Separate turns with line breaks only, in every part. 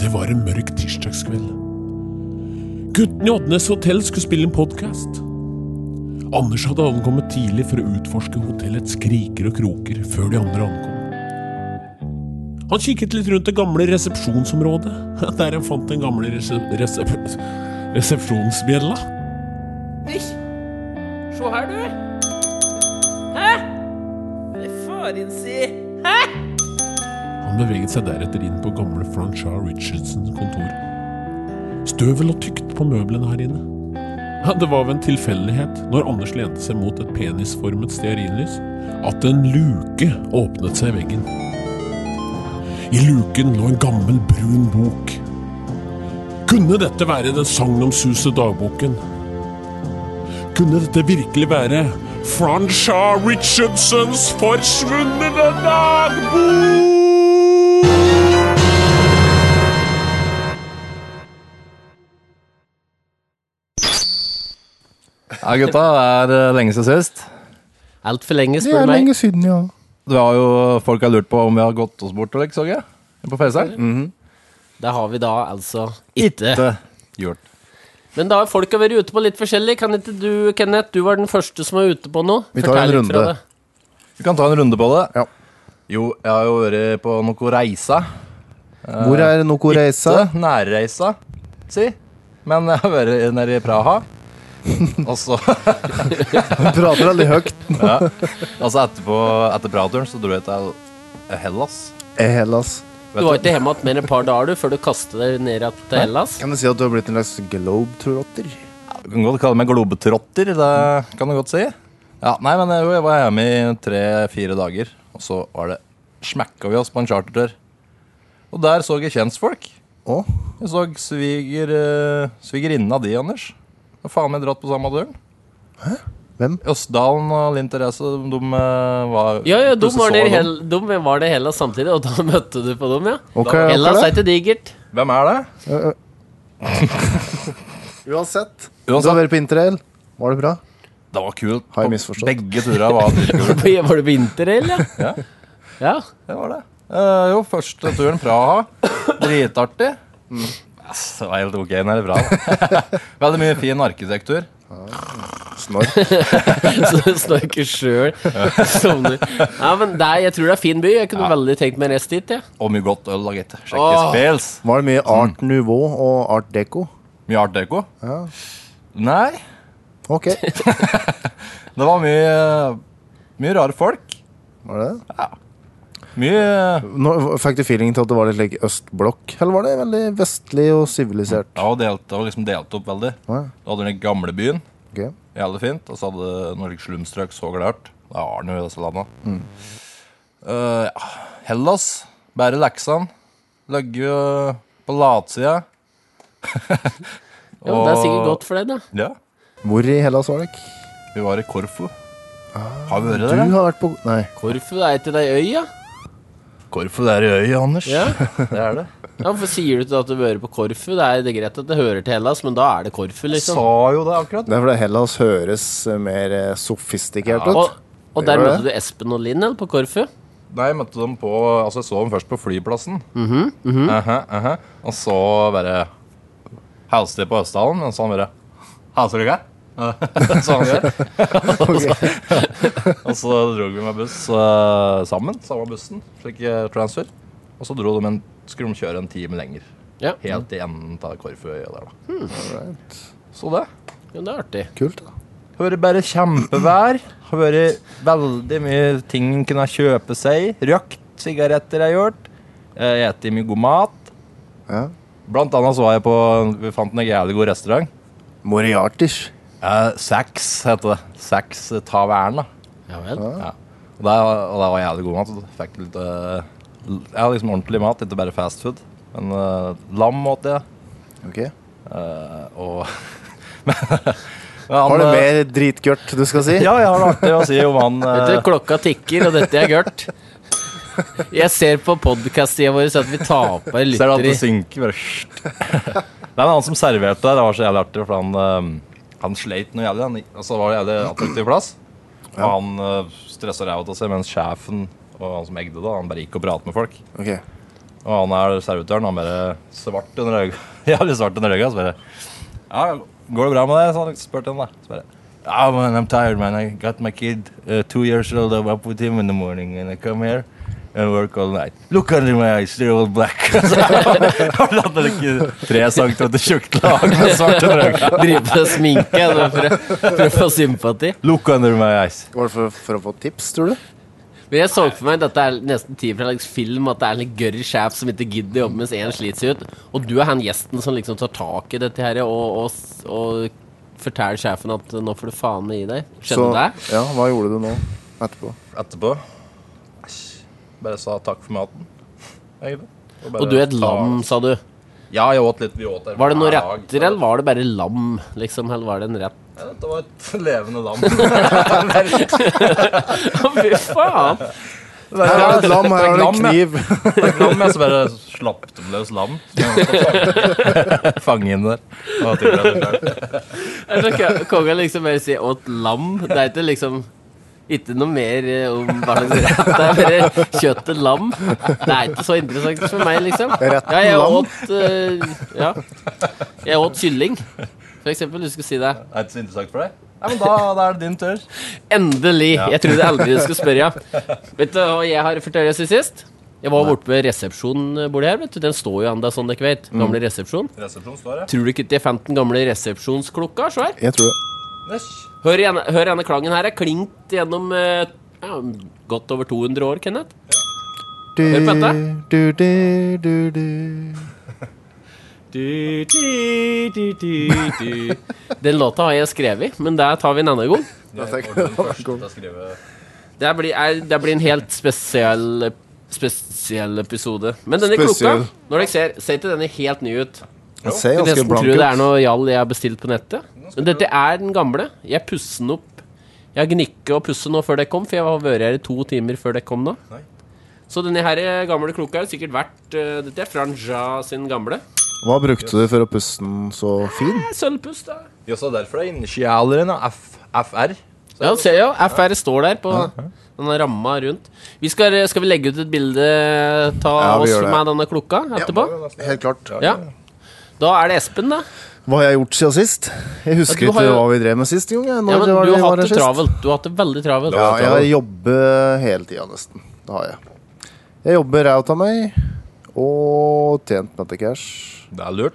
Det var en mørk tirsdagskveld. Guttene i Oddnes hotell skulle spille en podkast. Anders hadde ankommet tidlig for å utforske hotellets kriker og kroker før de andre ankom. Han kikket litt rundt det gamle resepsjonsområdet, der han fant den gamle rese resep resepsjonsbjella.
Nei, se her, du. Hæ? Hva er faren si? Hæ?
Han beveget seg deretter inn på gamle Franchard Richardsons kontor. Støvel og tykt på møblene her inne. Ja, det var ved en tilfeldighet, når Anders lente seg mot et penisformet stearinlys, at en luke åpnet seg i veggen. I luken lå en gammel, brun bok. Kunne dette være den sagnomsuste dagboken? Kunne dette virkelig være Franchard Richardsons forsvunne dagbok?
Ja, gutta, det er lenge siden sist.
Altfor lenge,
Det
spør
er
du meg.
lenge siden, ja.
Du har jo, folk har lurt på om vi har gått oss bort, eller ikke, så jeg? På Faceren.
Det har vi da altså ikke.
Det gjort.
Men da har folk vært ute på litt forskjellig. Kan ikke du, Kenneth, du var den første som var ute på noe.
Vi tar
Fortell
en
litt fra
runde.
det.
Vi kan ta en runde på det.
Ja.
Jo, jeg har jo vært på noe reise.
Hvor er Noko Reisa?
Ikke Nærreise, si. Men jeg har vært nede i Praha. Og så
Hun prater veldig høyt.
ja. Og så altså etterpå, etter Praha-turen så dro jeg til Hellas.
Eh, Hellas.
Du var ikke hjemme igjen mer enn et par dager du, før du kastet deg ned igjen til Hellas.
Kan du si at du har blitt en slags globetrotter?
Du kan godt kalle meg globetrotter, det kan du godt si. Ja, nei, men eh, jeg, jeg var hjemme i tre-fire dager, og så var det smekka vi oss på en chartertur. Og der så jeg kjentfolk.
Å?
Jeg så sviger, eh, svigerinna di, Anders. Og faen meg dratt på samme turen.
Hvem?
Østdalen og Linn Therese, de, eh, var
Ja, ja, de
plutselig
var,
så
der i
jeg
Hel de var det i Hellas samtidig, og da møtte du på dem, ja.
Ok,
Hellas er
ok det.
ikke digert.
dem. Hvem er det?
Uansett. Du har
Uansett,
vært på interrail. Var det bra?
det var kult.
Har jeg misforstått?
Begge turer var dritkule.
Var du på interrail, ja?
Ja.
ja?
Det var det. Eh, jo, første turen Praha. Dritartig. Ass, Det var helt ok. Den er bra. Veldig mye fin arkitektur.
Snork.
Så du snakker sjøl. Sovner. Ja, men det er- jeg tror det er fin by. Jeg kunne veldig tenkt meg å reise dit, jeg. Ja.
Og mye godt øl, da, gitt. Sjekke
Åh.
spels.
Var det mye art nouveau og art deco?
Mye art deco.
Ja.
Nei,
Ok.
det var mye Mye rare folk.
Var det det?
Mye
Nå Fikk du feelingen til at det var litt like østblokk, eller var det veldig vestlig og sivilisert?
Ja, og delt, det var liksom delt opp veldig.
Ja.
Du hadde den gamle byen.
Ok.
Jævlig fint. Og så hadde du noen slumstrøk så glært. Det har den jo i disse landa. Eh, ja. Hellas. Bære leksene. Ligger jo på latsida.
men Det er sikkert godt for deg, da.
Ja.
Hvor i Hellas var dere?
Vi var i Korfu. har vi vært
Du
der? ja?
har vært på Nei.
Korfu er ikke ei øy, ja?
Korfu det er i øya, Anders.
ja?
Det er det.
Ja, Hvorfor sier du ikke at du hører på Korfu? Det er, det er greit at det hører til Hellas, men da er det Korfu,
Jeg
liksom.
sa jo det akkurat.
Det er fordi Hellas høres eh, mer eh, sofistikert
Og,
ut.
og der
Det gjør
møtte du Espen og Linn, eller, på Korfu?
Nei, jeg møtte dem på Altså, jeg så dem først på flyplassen.
Mhm,
Aha, aha. Og så bare Hilste de på Østdalen, men så han bare Hilser du ikke? så han gjør. og så dro vi med buss eh, sammen, samme bussen, slik eh, transfer. Og så dro de en, skulle de kjøre en time lenger.
Ja. ja,
Helt i enden av Korfuøya der, da. Så det.
det er artig.
Kult, da.
Har vært bare kjempevær. Har vært veldig mye ting en kunne kjøpe seg. Røkt sigaretter jeg har gjort. Eh, Spist mye god mat.
Ja.
Blant annet så var jeg på Vi fant en jævlig god restaurant.
Moriartis.
Eh, Sax heter det. Sax Taverna.
Ja vel.
Og der, og der var jævlig god mat. så Fikk litt eh, l- Ja, liksom ordentlig mat, ikke bare fast food. Men eh, lam åt jeg.
Ok.
eh, og Men han,
Har du
eh,
mer dritgørt du skal si?
Ja, jeg har det artig å si om han
Vet
eh,
du, klokka tikker, og dette er gørt. Jeg ser på podkast-tida vår så at vi taper
Ser du
lytter i
at det synker bare sht. Nei, men han som serverte der, det var så jævlig artig, for han, eh, han sleit noe jævlig. Han, altså, det var en jævlig attraktiv plass. Og han eh, uh, stressa ræva av seg, mens sjefen og han som egde det, han bare gikk og pratet med folk.
Ok.
Og Og han er servitøren, han bare svart under øynene. Jævlig svart under øynene. Så bare Ja, går det bra med deg? Så han liksom spurte han, da. Så bare Ah, man, I'm tired, man. I got my kid, uh, two years old. I'm up with him in the morning, and I come here and work all night. Look under my eyes, they're all black. Så han hadde ikke tre centimeter tjukt lag med svart under øynene.
Drive på sminke nå for å, for å få sympati.
Look under my eyes.
Var det for, for å få tips, tror du?
Men jeg så for meg at dette er nesten tid for en slags film, at det er en gørr sjef som ikke gidder jobbe mens én sliter seg ut. Og du er han gjesten som liksom tar tak i dette her og, og, og forteller sjefen at nå får du faen i deg. Skjønner du det?
Ja, hva gjorde du nå etterpå?
Etterpå æsj, bare sa takk for maten. egentlig. bare
Og du er et
ta-
lam, sa du.
Ja, jeg åt litt. Vi åt her
Var det noen
hver dag.
retter, eller var det bare lam, liksom? Eller var det en rett?
Ja, Dette var et levende lam.
Å, Fy faen!
Her er det et lam, her er det
Lam, ja.
en kniv.
Et lam, jeg, så bare slapp de løs lam. som jeg måtte fange- Fange inn der. Og tilberede selv.
Jeg tror ikke- Kongen liksom bare sier 'åt lam'. Det er ikke liksom ikke noe mer eh, om hva slags rett det er. Bare kjøtt og lam. Det er ikke så interessant for meg, liksom.
Retten
Ja, jeg
lam.
åt eh, Ja. Jeg åt kylling, for eksempel. Du skulle si det.
Er det ikke så interessant for deg? Nei, men da, da er det din tur.
Endelig! Jeg trodde aldri du skulle spørre. Ja. Vet du hva jeg har fortalt deg siden sist? Jeg var borte ved resepsjonsbordet her. vet du Den står jo ennå sånn, dere vet. Gamle resepsjon.
Resepsjon står her.
Tror du ikke at jeg fant den gamle resepsjonsklokka? Så her?
Jeg tror det.
Yes.
Hør, igjen, hør denne klangen her. Er klingt gjennom eh, ja, godt over 200 år, Kenneth.
Du,
Hør på
du, du, du, du.
Du, du, du, du, du. Den låta har jeg skrevet, men det tar vi en annen gang.
Jeg var den første til å skrive
Det blir, er, det blir en helt spesiell Spesiell episode. Men denne
Spesiell.
klokka Når dere ser, ser ikke denne helt ny ut.
Den ser
Jeg
ganske
nesten
blank
tror det er
ut.
noe jall jeg har bestilt på nettet. Men dette er den gamle. Jeg pusser den opp. Jeg gnikket og pusset nå før dere kom, for jeg har vært her i to timer før dere kom nå.
Nei.
Så denne her eh, gamle klokka har sikkert vært eh, Dette er Franja sin gamle.
Hva brukte du for å pusse den så fin?
Eh, Sølvpuss, da.
Jøss, det er derfor det er initialeren av F- FR.
Ja, se jo. FR står der på denne ramma rundt. Vi skal, eh, skal vi legge ut et bilde eh, ta
Ja,
av
vi
oss
gjør det.
med denne klokka etterpå?
Helt klart.
Ja. Da er det Espen, da.
Hva har jeg gjort siden sist? Jeg
Ja,
husker
du har
ikke
jo-
hva vi drev med sist gang. jeg. Når
Ja, men
var
du
det-
har
var
hatt det
sist?
travelt. Du har hatt det veldig travelt.
Ja, jeg har jobbet hele tida, nesten. Det har jeg. Jeg jobber ræva av meg, og tjent Metacash.
Det er lurt.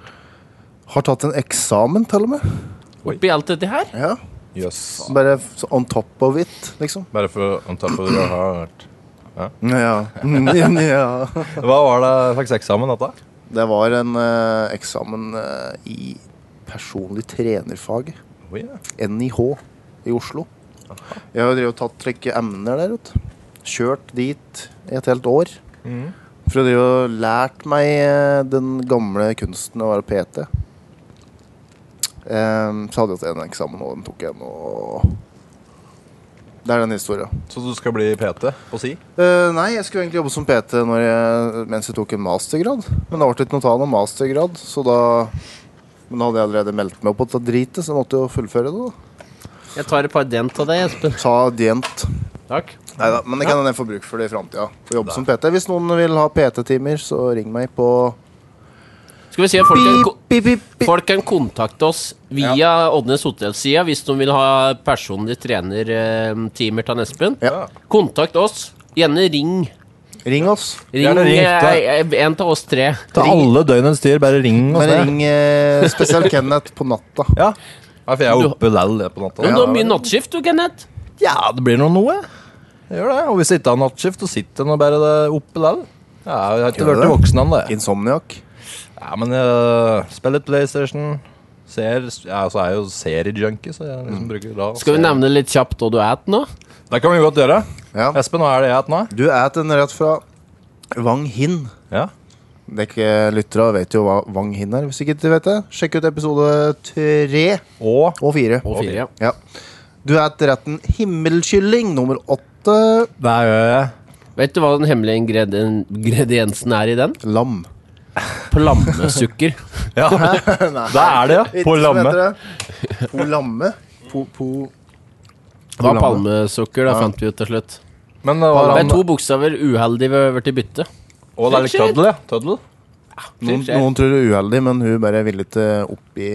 Har tatt en eksamen, til og med.
Oppi alt dette her.
Ja.
Jøss.
Bare f- on top of it, liksom.
Bare for å ta på det jeg har hørt.
Ja. Mm, ja.
Hva var det slags eksamen, dette?
Det var en eh, eksamen eh, i personlig trenerfag,
Oh, ja.
NIH, i Oslo. Jeg har jo drevet og tatt like, emner der, vet du. Kjørt dit i et helt år. For å drive og lært meg eh, den gamle kunsten å være PT. Ehm, så hadde jeg hatt en eksamen, og den tok jeg nå. Det er den historien.
Så du skal bli PT på si?
Eh, nei, jeg skulle egentlig jobbe som PT når jeg, mens jeg tok en mastergrad. Men det ble ikke noe ta noen mastergrad, så da Men da hadde jeg allerede meldt meg opp på dette dritet, så jeg måtte jo fullføre det. da
Jeg tar et par dent av deg, Espen.
Ta dient.
Takk.
Neida, men det kan hende jeg får bruk for det i framtida. Få jobbe som PT. Hvis noen vil ha PT-timer, så ring meg på
Skal vi si at folk kan, ko-
Pip, pip, pip.
folk kan kontakte oss via Oddnes Hotell-sida hvis de vil ha personlig trenertimer til Espen.
Ja.
Kontakt oss. Gjerne ring.
Ring oss.
Ring
Gjerne ring,
eh,
da.
eh, en av oss tre.
Til alle døgnets dyr, bare ring
Men ring eh, spesielt Kenneth på natta.
Ja. ja, for jeg er oppe lell jeg, på natta.
Men du har mye nattskift, du, Kenneth.
Ja, det blir nå noe. Jeg gjør det. Og hvis jeg ikke har nattskift, så sitter jeg nå bare det oppe lell. Ja, jeg har ikke
Gjør
vært
det?
voksen ennå. jeg.
Insomniac.
Ja, men jeg spiller litt PlayStation. Ser, ja, så er jeg jo seriejunkie, så jeg liksom bruker da
Skal vi nevne litt kjapt hva du spiser nå?
Det kan vi godt gjøre.
Ja.
Espen, hva er det jeg spiser nå?
Du er en rett fra Wang Hin.
Ja.
Dere lyttere vet jo hva Wang Hin er. Hvis ikke du vet det, sjekk ut episode tre
Og
og fire.
Og fire, ja.
Ja. Du er etter retten himmelkylling nummer åtte.
Det gjør jeg.
Vet du hva den hemmelige ingredien- ingrediensen er i den?
Lam.
Plammesukker.
Ja. Det er det, ja. På lamme.
På lamme? Po, po.
Det var palmesukker, da fant vi ut til slutt.
Men det var
Det er
han
to bokstaver uheldig ved å være til bytte.
Og det er litt tøddel, ja. Tøddel.
Noen, noen tror det er uheldig, men hun bare ville ikke oppgi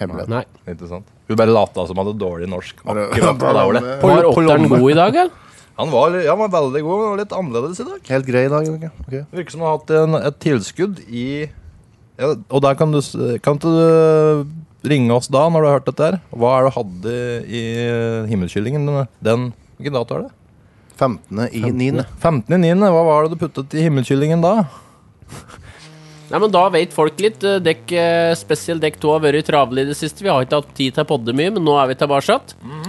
hemmeligheten.
Nei.
Interessant. Hun bare lata som han hadde dårlig norsk.
Bare-
Akkurat på det året.
På-
Var
på
åtteren
lommet.
god i dag, ja?
Han var, ja, han var veldig god, men var litt annerledes i dag.
Helt grei i dag. Okay. ok.
Virker som han har hatt en, et tilskudd i ja, Og der kan du s- Kan ikke du ringe oss da, når du har hørt dette her? Hva er det du hadde i himmelkyllingen? Den Hvilken dato er det?
15. i 9.
15.9. Hva var det du puttet i himmelkyllingen da?
Nei, men da vet folk litt. Eh, Dekk, eh, spesielt dekk to har vært travle i det siste. Vi har ikke hatt tid til å podde mye, men nå er vi tilbake.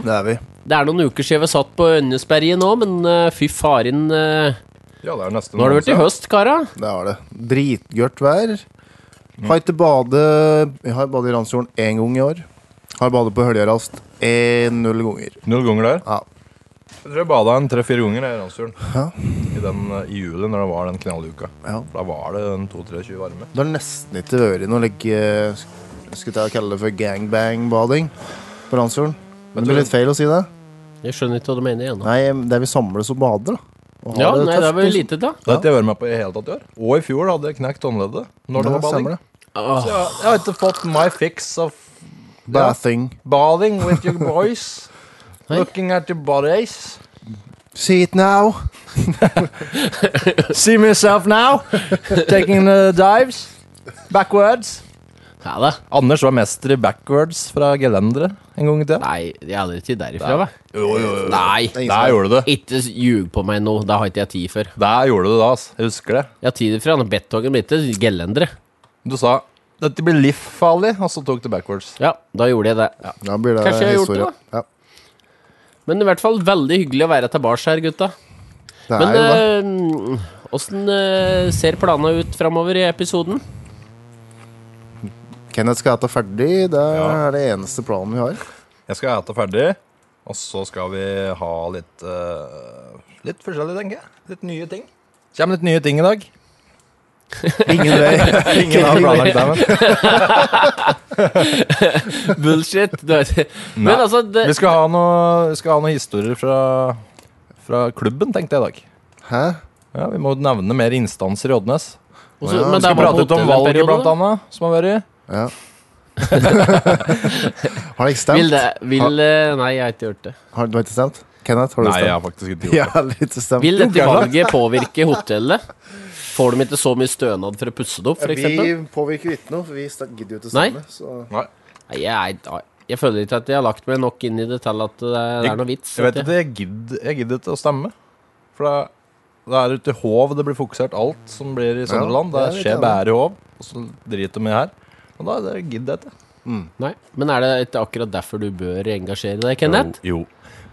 Det er vi.
Det er noen uker siden vi satt på Ønnesberget nå, men eh, fy faren eh,
Ja, det er nesten
Nå har det vært i høst, kara.
Det er det. Dritgørt vær. Har ikke bade Jeg har badet i Randsfjorden én gang i år. Har badet på Høljerast én null ganger.
Null ganger der.
Ja.
Jeg tror jeg bada en tre-fire ganger jeg, i Randsfjorden.
Ja.
I, den, eh, I juli, når det var den knalluka.
ja.
Da var det en 22-23 varme.
Det har nesten ikke vært noe legge Skulle jeg kalle det for gangbang-bading på Randsfjorden? Men det blir litt feil å si det.
Jeg skjønner ikke hva du mener igjen.
Nei, det er vi samles og bader, da. Og har
Ja, nei, det er
tøft,
vel
liksom.
lite, da.
Det har ikke jeg vært med på i hele tatt i år. Og i fjor hadde jeg knekt håndleddet når det
Ja,
var bading.
stemmer det.
Åh,
Så jeg, jeg har ikke fått my fix of
Bathing.
bathing with your boys. Looking at your bodies.
See it now.
See myself now. Taking the dives. Backwards.
Ja da.
Anders var mester i backwards fra gelenderet en gang i tida.
Nei, jeg hadde ikke tid derifra, hva?
Jo, jo, jo.
Nei,
Nei.
Der gjorde du det.
ikke ljug på meg nå. Det har ikke jeg tid for.
Der gjorde du det, ass. Jeg husker det.
Jeg har tid for han Bettongen blir ikke gelendere.
Du sa 'dette blir livsfarlig', og så tok du backwards.
Ja, da gjorde jeg det.
Da blir det
Kanskje jeg har gjort
historie.
det,
Ja.
Men i hvert fall veldig hyggelig å være tilbake her, gutta.
Det er
Men eh,
jo det.
åssen eh, ser planene ut framover i episoden?
Kenneth skal ete ferdig. Det
Ja.
er det eneste planen vi har.
Jeg skal ete ferdig, og så skal vi ha litt eh, Litt forskjellig, tenker jeg. Litt nye ting. Kommer litt nye ting i dag.
Ingen vei.
Ingen har planlagt det, men
Bullshit! Du vet. Men altså, det,
vi skal ha noe- vi skal ha noen historier fra, fra klubben, tenkte jeg i dag.
Hæ?
Ja, Vi må nevne mer instanser i Oddnes.
også,
ja,
men
vi
Vi skal
der var
prate
på
ut om
hotell en
valget,
periode,
blant
da.
annet, som har vært.
Ja. har det ikke stemt?
Vil det vil, eh, Nei, jeg har ikke gjort det.
Har du har ikke stemt? Kenneth, har du stemt?
har faktisk ikke
Jeg har ikke stemt.
Vil
Jo,
dette
gærent.
valget påvirke hotellet? Får de ikke så mye stønad for å pusse det opp, f.eks.?
vi påvirker ikke noe, for vi sta- gidder jo ikke å
Nei.
stemme. Så.
Nei,
Nei, jeg, er- jeg føler ikke at jeg har lagt meg nok inn i det til at det er, det er noe vits.
Jeg vet
at
ikke, jeg gidder, jeg gidder ikke å stemme. For det, det er ute i Hov det blir fokusert alt som blir i sånne
Ja,
land. Det
jeg er litt
skjer
enig.
bare i Hov, og så driter de i her. Og da det gidder jeg ikke.
Nei, Men er det ikke akkurat derfor du bør engasjere deg, Kenneth?
Jo, jo.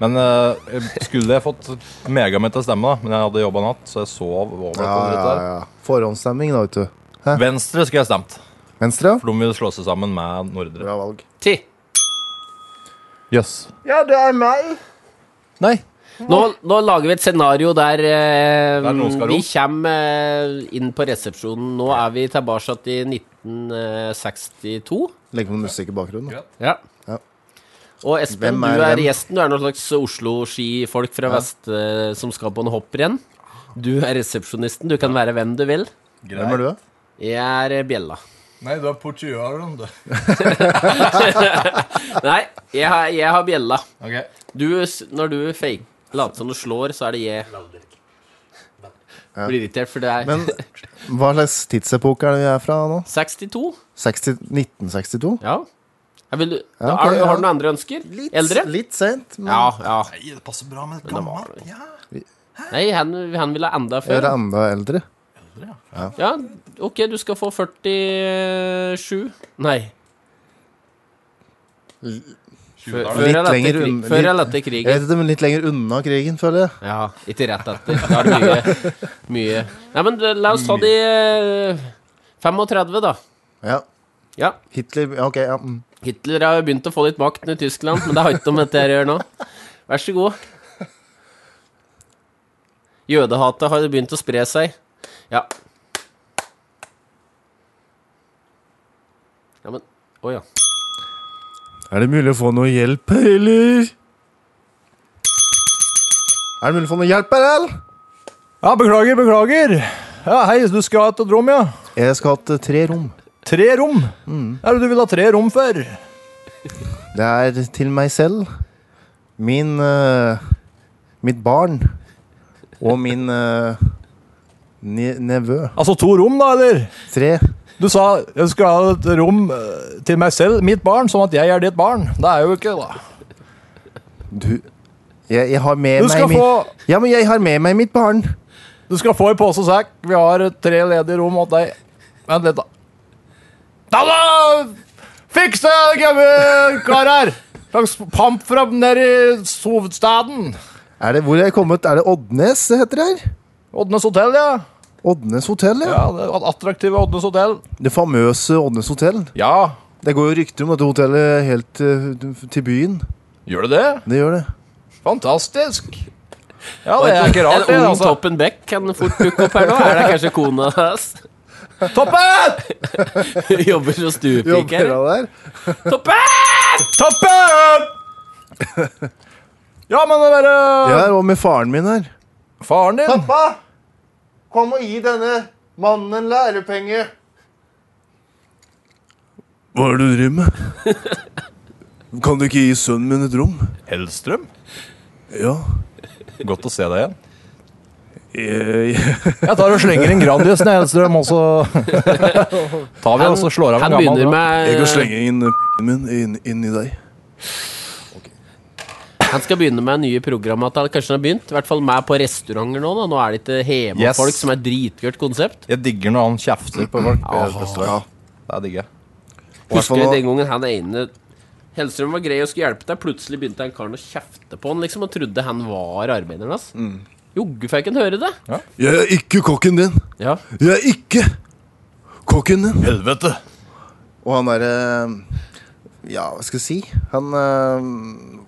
Men eh, jeg skulle jeg fått mega meg til å stemme, da. Men jeg hadde jobba natt, så jeg sov over.
Ja,
på det
ja,
der.
ja. Forhåndsstemming, da, vet du.
Venstre skulle jeg stemt,
Venstre? ja.
for de vil slå seg sammen med Nordre.
Bra valg.
Ti.
Jøss.
Ja, det er meg!
Nei.
Nå, nå lager vi et scenario der, eh,
Der noen skal
vi
ro.
kommer eh, inn på resepsjonen. Nå er vi tilbake i 1962.
Legg på musikk i bakgrunnen. da.
Ja.
Ja.
Og Espen,
Hvem er
du er
hvem?
gjesten. Du er noen slags Oslo-skifolk fra vest eh, som skal på en hopprenn. Du er resepsjonisten. Du kan være hvem du vil.
Hvem er du, da?
Jeg er eh, bjella.
Nei, du er portugiser, du.
Nei, jeg har, jeg har bjella.
Okay.
Du, s- når du fake, later som du slår, så er det jeg. Blir irritert, for det er
Men hva slags tidsepoke er det vi er fra nå?
62.
60, 1962?
Ja. Jeg vil,
Ja, ok,
har, du-
ja.
har du noen andre ønsker? Eldre?
litt sent. Men
Ja, ja.
Nei, det passer bra med
det var gammelt. Nei, han, han vil ha enda
Jeg er
før.
enda eldre.
Ja, OK, du skal få 47. Nei. Før
Litt
eller etter
lenger
krig-
unna-
før
litt-
eller etter
Jeg
krigen.
vet ikke, men litt lenger unna krigen, føler jeg.
Ja, ikke rett etter. Da er det mye, mye. Nei, men eh, la oss ta de eh, 35, da.
Ja.
Ja.
Hitler ja, Ok, ja. mm.
Hitler har jo begynt å få litt makt i Tyskland, men det har ikke noe med dette her å gjøre nå. Vær så god. Jødehatet har begynt å spre seg. Ja. Ja, men Å ja.
Er det mulig å få noe hjelp her, eller? Er det mulig å få noe hjelp her, eller?
Ja, beklager, beklager. Ja, hei, du skal ha et rom, ja?
Jeg skal ha hatt eh, tre rom.
Tre rom?
Mm.
Er det du vil ha tre rom for?
Det er til meg selv, min eh, mitt barn og min eh, ne nevø.
Altså to rom, da, eller?
Tre.
Du sa jeg skal ha et rom eh, til meg selv, mitt barn, sånn at jeg er ditt barn. Det er jeg jo ikke, da.
Du Jeg, jeg har med
Du skal
meg mitt
få-
Ja, men jeg har med meg mitt barn.
Du skal få en pose sekk. Vi har tre ledige rom åt deg. Vent litt, da. Da da! Fiks det, gamle kar her! Slags pamp fra nede i hovedstaden.
Er det, hvor er jeg kommet? Er det Oddnes det heter her?
Oddnes hotell, ja.
Oddnes hotell, ja.
Ja, det er Attraktive Oddnes hotell.
Det famøse Oddnes hotell.
Ja,
Det går jo rykter om dette hotellet helt eh, til byen.
gjør det det?
Det gjør det.
Fantastisk. Ja, det er ikke rart, det.
En ung
altså.
Toppen Beck kan fort dukke opp her nå. Er det kanskje kona hans?
Toppen!
Jobber som stuepike
Jobber
her.
han der?
Toppen!
Toppen! Ja, men det er bare
Jeg er òg med faren min her.
Faren din?
Pappa! Kom og gi denne mannen en lærepenge. Hva er det du driver med? Kan du ikke gi sønnen min et rom?
Hellstrøm?
Ja.
Godt å se deg igjen.
Jeg, jeg.
Jeg tar og slenger en Grandis ned Hellstrøm, og så tar vi og så slår av en
Han
gammel.
begynner
bra.
jeg kan
med
slenge inn pikken min inn, inn i deg.
Han skal begynne med nye programavtaler. Kanskje han har begynt? I hvert fall med på restauranter nå. Da. Nå er det ikke hjemme
Yes.
folk som er dritgørt konsept.
Jeg digger når han kjefter på folk. Ja. Det er digg, jeg.
Husker
Hvertfall
du
nå-
den gangen han ene Hellstrøm var grei og skulle hjelpe deg, plutselig begynte han karen å kjefte på han liksom, og trodde han var arbeideren hans.
Mm.
Joggu fikk han høre det.
Jeg er ikke kokken din.
Ja.
Jeg er ikke kokken din.
Helvete!
Og han derre eh, Ja, hva skal jeg si? Han eh,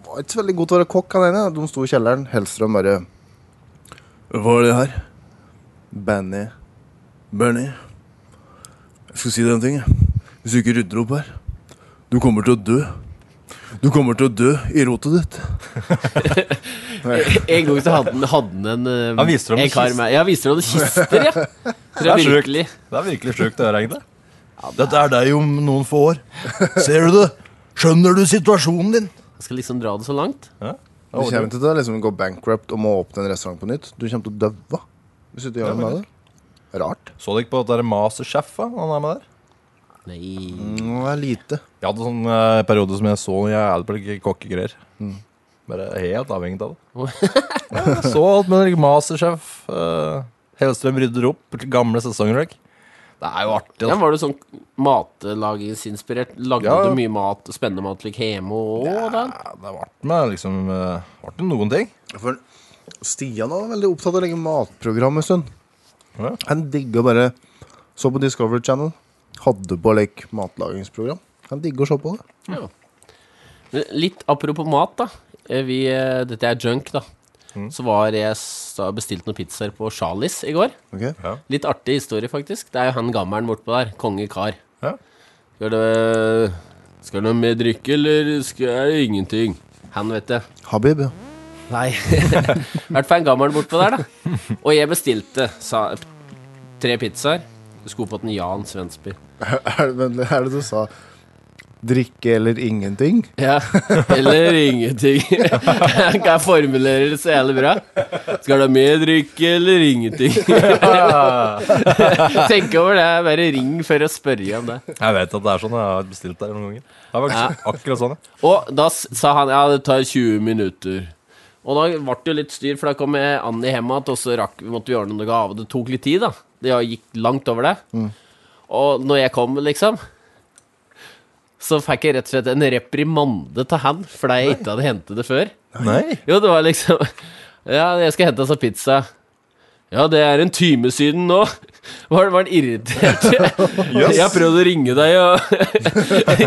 var ikke så veldig god til å være kokk, han ene. De sto i kjelleren. Hellstrøm bare Hva er det her? Banny. Bernie. Jeg skal si deg en ting. jeg. Hvis du ikke rydder opp her, du kommer til å dø. Du kommer til å dø i rotet ditt.
En gang så hadde han- hadde han en eh,
Han viste dem
en
en
kar
kiste.
med- Ja, viste dem kister, ja. Tror
Det
jeg
er sjukt.
virkelig.
Det er virkelig sjukt å høre, egentlig. Dette er deg om noen få år. Ser du det? Skjønner du situasjonen din?
Jeg skal liksom dra det så langt.
Du kommer til å liksom gå bankrupt og må åpne en restaurant på nytt. Du kommer til å døve hvis du ikke gjør noe med det. Rart.
Så du ikke på at det er Masterchef? da, Han er med der?
Nei.
Nå er lite.
Jeg hadde sånn eh, periode som jeg så jævlig på like kokkegreier.
Mm.
Bare helt avhengig av det. ja, jeg så alt med like, Masterchef. eh, Hellstrøm rydder opp gamle sesonger. ikke? Det er jo artig, altså.
Ja,
da.
var du sånn matlagingsinspirert? Lagde
Ja, ja.
du mye mat, spennende mat, like hjemme og da?
Ja, det var artig med liksom, eh, artig med noen ting.
For Stian var veldig opptatt av å legge matprogram en stund.
Ja.
Han digga bare Så på Discovery Channel. Hadde på like matlagingsprogram. Han digger å se på det.
Ja. Men Litt apropos mat, da. Eh, Vi, eh, dette er junk, da. Så var jeg s- da bestilte noen pizzaer på Charlies i går.
Ok?
Litt artig historie, faktisk. Det er jo han gammelen bortpå der. Konge kar.
Ja.
Skal det Skal det mer drikke, eller skal jeg ingenting? Han, vet det.
Habib, ja.
Nei. I hvert fall en gammel bortpå der, da. Og jeg bestilte sa, tre pizzaer. Skulle på den Jan Svensby.
Er det, men, er det du sa? Drikke eller ingenting?
Ja. Eller ingenting. Jeg kan formulere det så jævlig bra. Skal du ha mer drikke eller ingenting? Tenk over det. Bare ring for å spørre om det.
Jeg vet at det er sånn. Jeg har bestilt der noen ganger. Det er faktisk akkurat sånn. ja.
Og da s- sa han ja, det tar 20 minutter. Og da ble det jo litt styr, for da kom jeg Annie hjem igjen, og så rakk, måtte vi ordne noe gave. Det tok litt tid, da. Det ja, gikk langt over det. Og når jeg kom, liksom, så fikk jeg rett og slett en reprimande til han fordi jeg ikke hadde hentet det før.
Nei.
Jo, det var liksom Ja, jeg skal hente oss en pizza. Ja, det er en time siden nå. Var, var han irritert? Jeg har prøvd å ringe deg og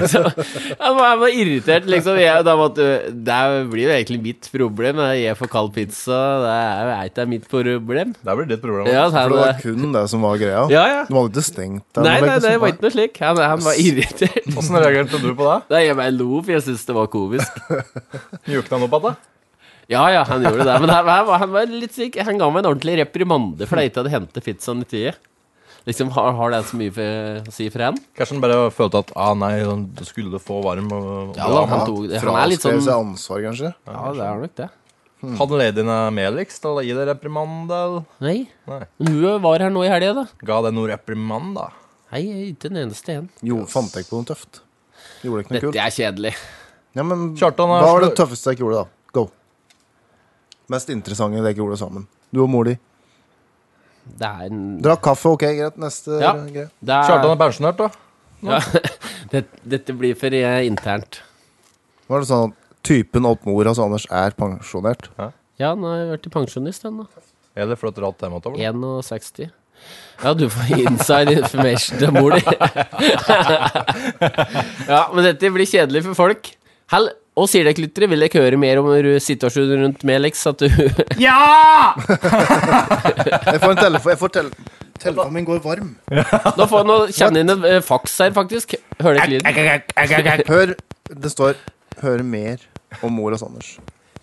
liksom, Jeg var, jeg var irritert, liksom. Jeg, da måtte, det blir jo egentlig mitt problem. Jeg gir for kald pizza. Det er jo ikke mitt problem.
Det blir ditt problem.
Ja, så
For
han,
det var kun det som var greia.
ja, ja.
De hadde ikke stengt den,
Nei, nei,
liksom.
det var ikke noe slik. Han, han var irritert.
Åssen reagerte du på det?
Da jeg meg lo, for jeg syntes det var komisk.
Mjukna han opp igjen?
Ja, ja, han gjorde det. Men han, var- han var litt syk. Han ga meg en ordentlig reprimande for jeg ikke hadde hentet pizzaen i tide. Liksom, har, har det så mye for, å si for han?
Kanskje han bare følte at ah, nei, du skulle få varm. Og,
Ja, da, han, tok, han er litt
Fraskrev
sånn
seg ansvar, kanskje.
Ja, det er nok det.
Hadde ladyen medlikst eh, til å gi deg reprimand? eller?
Nei.
Nei.
Men hun var her nå i helga, da.
Ga deg noe reprimand, da?
Nei, ikke den eneste en.
Jo, fant jeg ikke på noe tøft? Gjorde jeg ikke noe
Dette
kult?
er kjedelig.
Ja, men
Kjartan
hva
er
var det
slø-
tøffeste dere gjorde, da? Go. Mest interessante dere gjorde sammen. Du og mor di.
Det er en
Drakk kaffe, ok, greit. Neste
Ja.
greie.
det er,
Kjartan er pensjonert, da.
Ja, det, dette blir for eh, internt.
Var det sånn at typen opp mor hos Anders er pensjonert?
Ja, nå har jeg vært pensjonist, den, da.
Eller flott ratt hjemme til
61. Ja, du får inside information til mor di. ja, men dette blir kjedelig for folk. Hell, og sier dere lyttere, vil dere høre mer om ru- situasjonen rundt Melix? At du
Jeg får en telefon Jeg får tel Telefonen min går varm.
Nå får nå kjenne inn en eh, faks her, faktisk. Hører dere lyden?
Hør, det står 'Hør mer om mor hos Anders',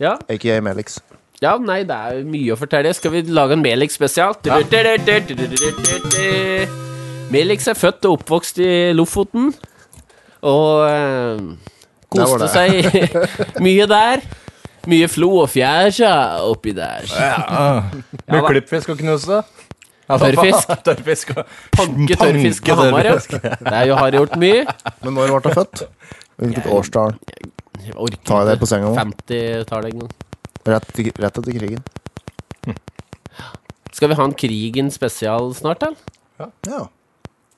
Ja.
aka Melix.
ja, nei, det er jo mye å fortelle. Skal vi lage en Melix-spesial? Melix er født og oppvokst i Lofoten, og eh,
Der var
koste seg mye der. Mye flo og fjær sja, oppi der.
Med klippfisk og knuse. Ja,
Tørrfisk.
faen, Tørrfisk og
Panke tørrfisk på Hamar, ja. Det er jo har gjort mye.
Men når ble hun født? Hvilket årstall?
Jeg orker
Tar jeg deg
ikke.
på senga nå?
50-tallet en gang.
Rett, til- rett etter krigen.
Skal vi ha en Krigen spesial snart, eller?
Ja.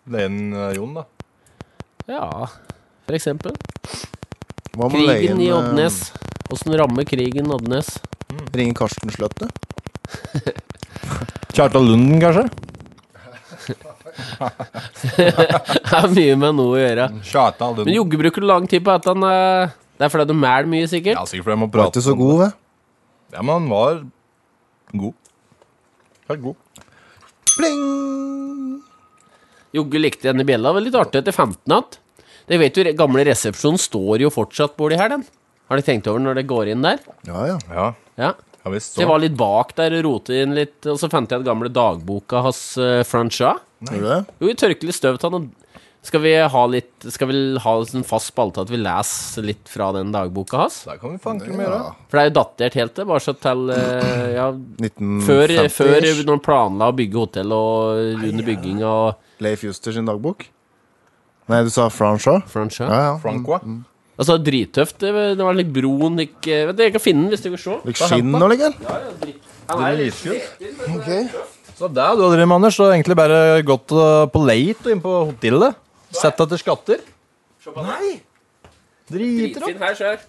Det er en eh, Jon, da.
Ja, for eksempel.
Hva med
Krigen i
eh,
Oddnes. Åssen rammer krigen Oddnes?
Ringe Karsten Sløtte?
Kjartan Lunden, kanskje?
Det er mye med noe å gjøre.
Mm. Kjartan
Men
Lunden.
Jogge bruker du lang tid på at han eh, Det er fordi du mæler mye, sikkert?
Ja, sikkert fordi jeg må
Var
prate
ikke så god, det.
Ja, men han var god. Helt god.
Pling!
Jogge likte denne bjella. Det var litt artig etter 15 att. Det vet du, gamle resepsjonen står jo fortsatt borti her, den. Har dere tenkt over når det går inn der?
Ja, ja.
Ja,
Ja.
ja visst.
Så jeg var litt bak der og rotet inn litt, og så fant jeg den gamle dagboka hans, uh, Francha.
Gjorde du det?
Jo, vi tørker litt støv til han. og Skal vi ha litt Skal vi ha en sånn fast spalte at vi leser litt fra den dagboka hans?
Der kan vi fanke med gjøre.
Ja.
For det er jo datert helt det, bare så til eh, ja,
1950
før, før når man planla å bygge hotell og under bygging og
Leif Juster sin dagbok? Nei, du sa Francha?
franchise.
Ja, ja.
Francois.
Altså, drittøft. Det var- det var litt broen gikk eh, Vet du, jeg kan finne den hvis du vil se.
Fikk skinn nå, ligger den?
Han er litt
Dritskutt.
Ok.
Så det er du har drevet med, Anders. Du har egentlig bare gått eh, på leit og inn på hotellet. Sett etter skatter. Nei! Driter opp.
dritfin her, sjøl.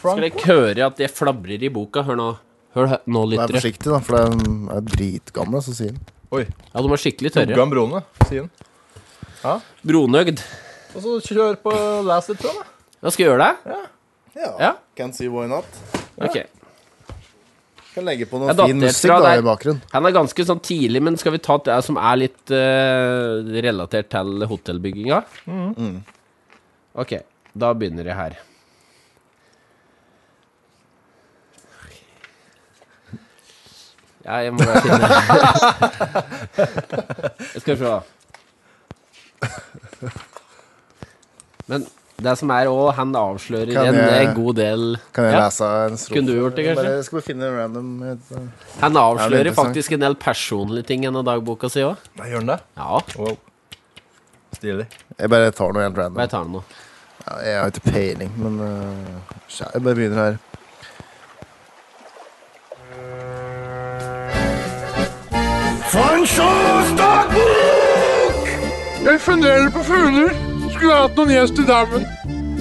Skal dere høre at det flabrer i boka? Hør nå. Hør he- nå,
Vær
lyttere.
forsiktig, da, for de er dritgamle, så sier han.
Oi.
Ja, de er skikkelig
Tugga
tørre.
en brone, sier han.
Bronøgd.
Og så kjør på les litt fra meg.
Hva skal jeg gjøre det? Ja?
Can see why not.
Ok.
Kan legge på
Jeg
noe
datt
fin
helt
musikk
fra
da
der.
i bakgrunnen.
Han er ganske sånn tidlig, men skal vi ta det som er litt eh, relatert til hotellbygginga?
Mm.
Mm. Ok, da begynner jeg her. Ja, jeg må bare finne Jeg skal se. Men det som er òg, han avslører
Kan
en
jeg-
eh, god del
Kan jeg
Ja.
lese en strofe?
Kunne du gjort det, kanskje?
Bare, jeg skal bare finne en random et, uh,
Han
Ja, det
avslører
er interessant.
faktisk en del personlige ting gjennom dagboka si òg.
Nei, gjør den det?
Ja,
Wow. Stilig.
Jeg bare tar noe helt
bare
random.
ta den nå.
Ja, Jeg har ikke peiling, men uh, skjæ- jeg bare begynner her.
Jeg funderer på fugler. Skulle hatt noen gjest i dammen.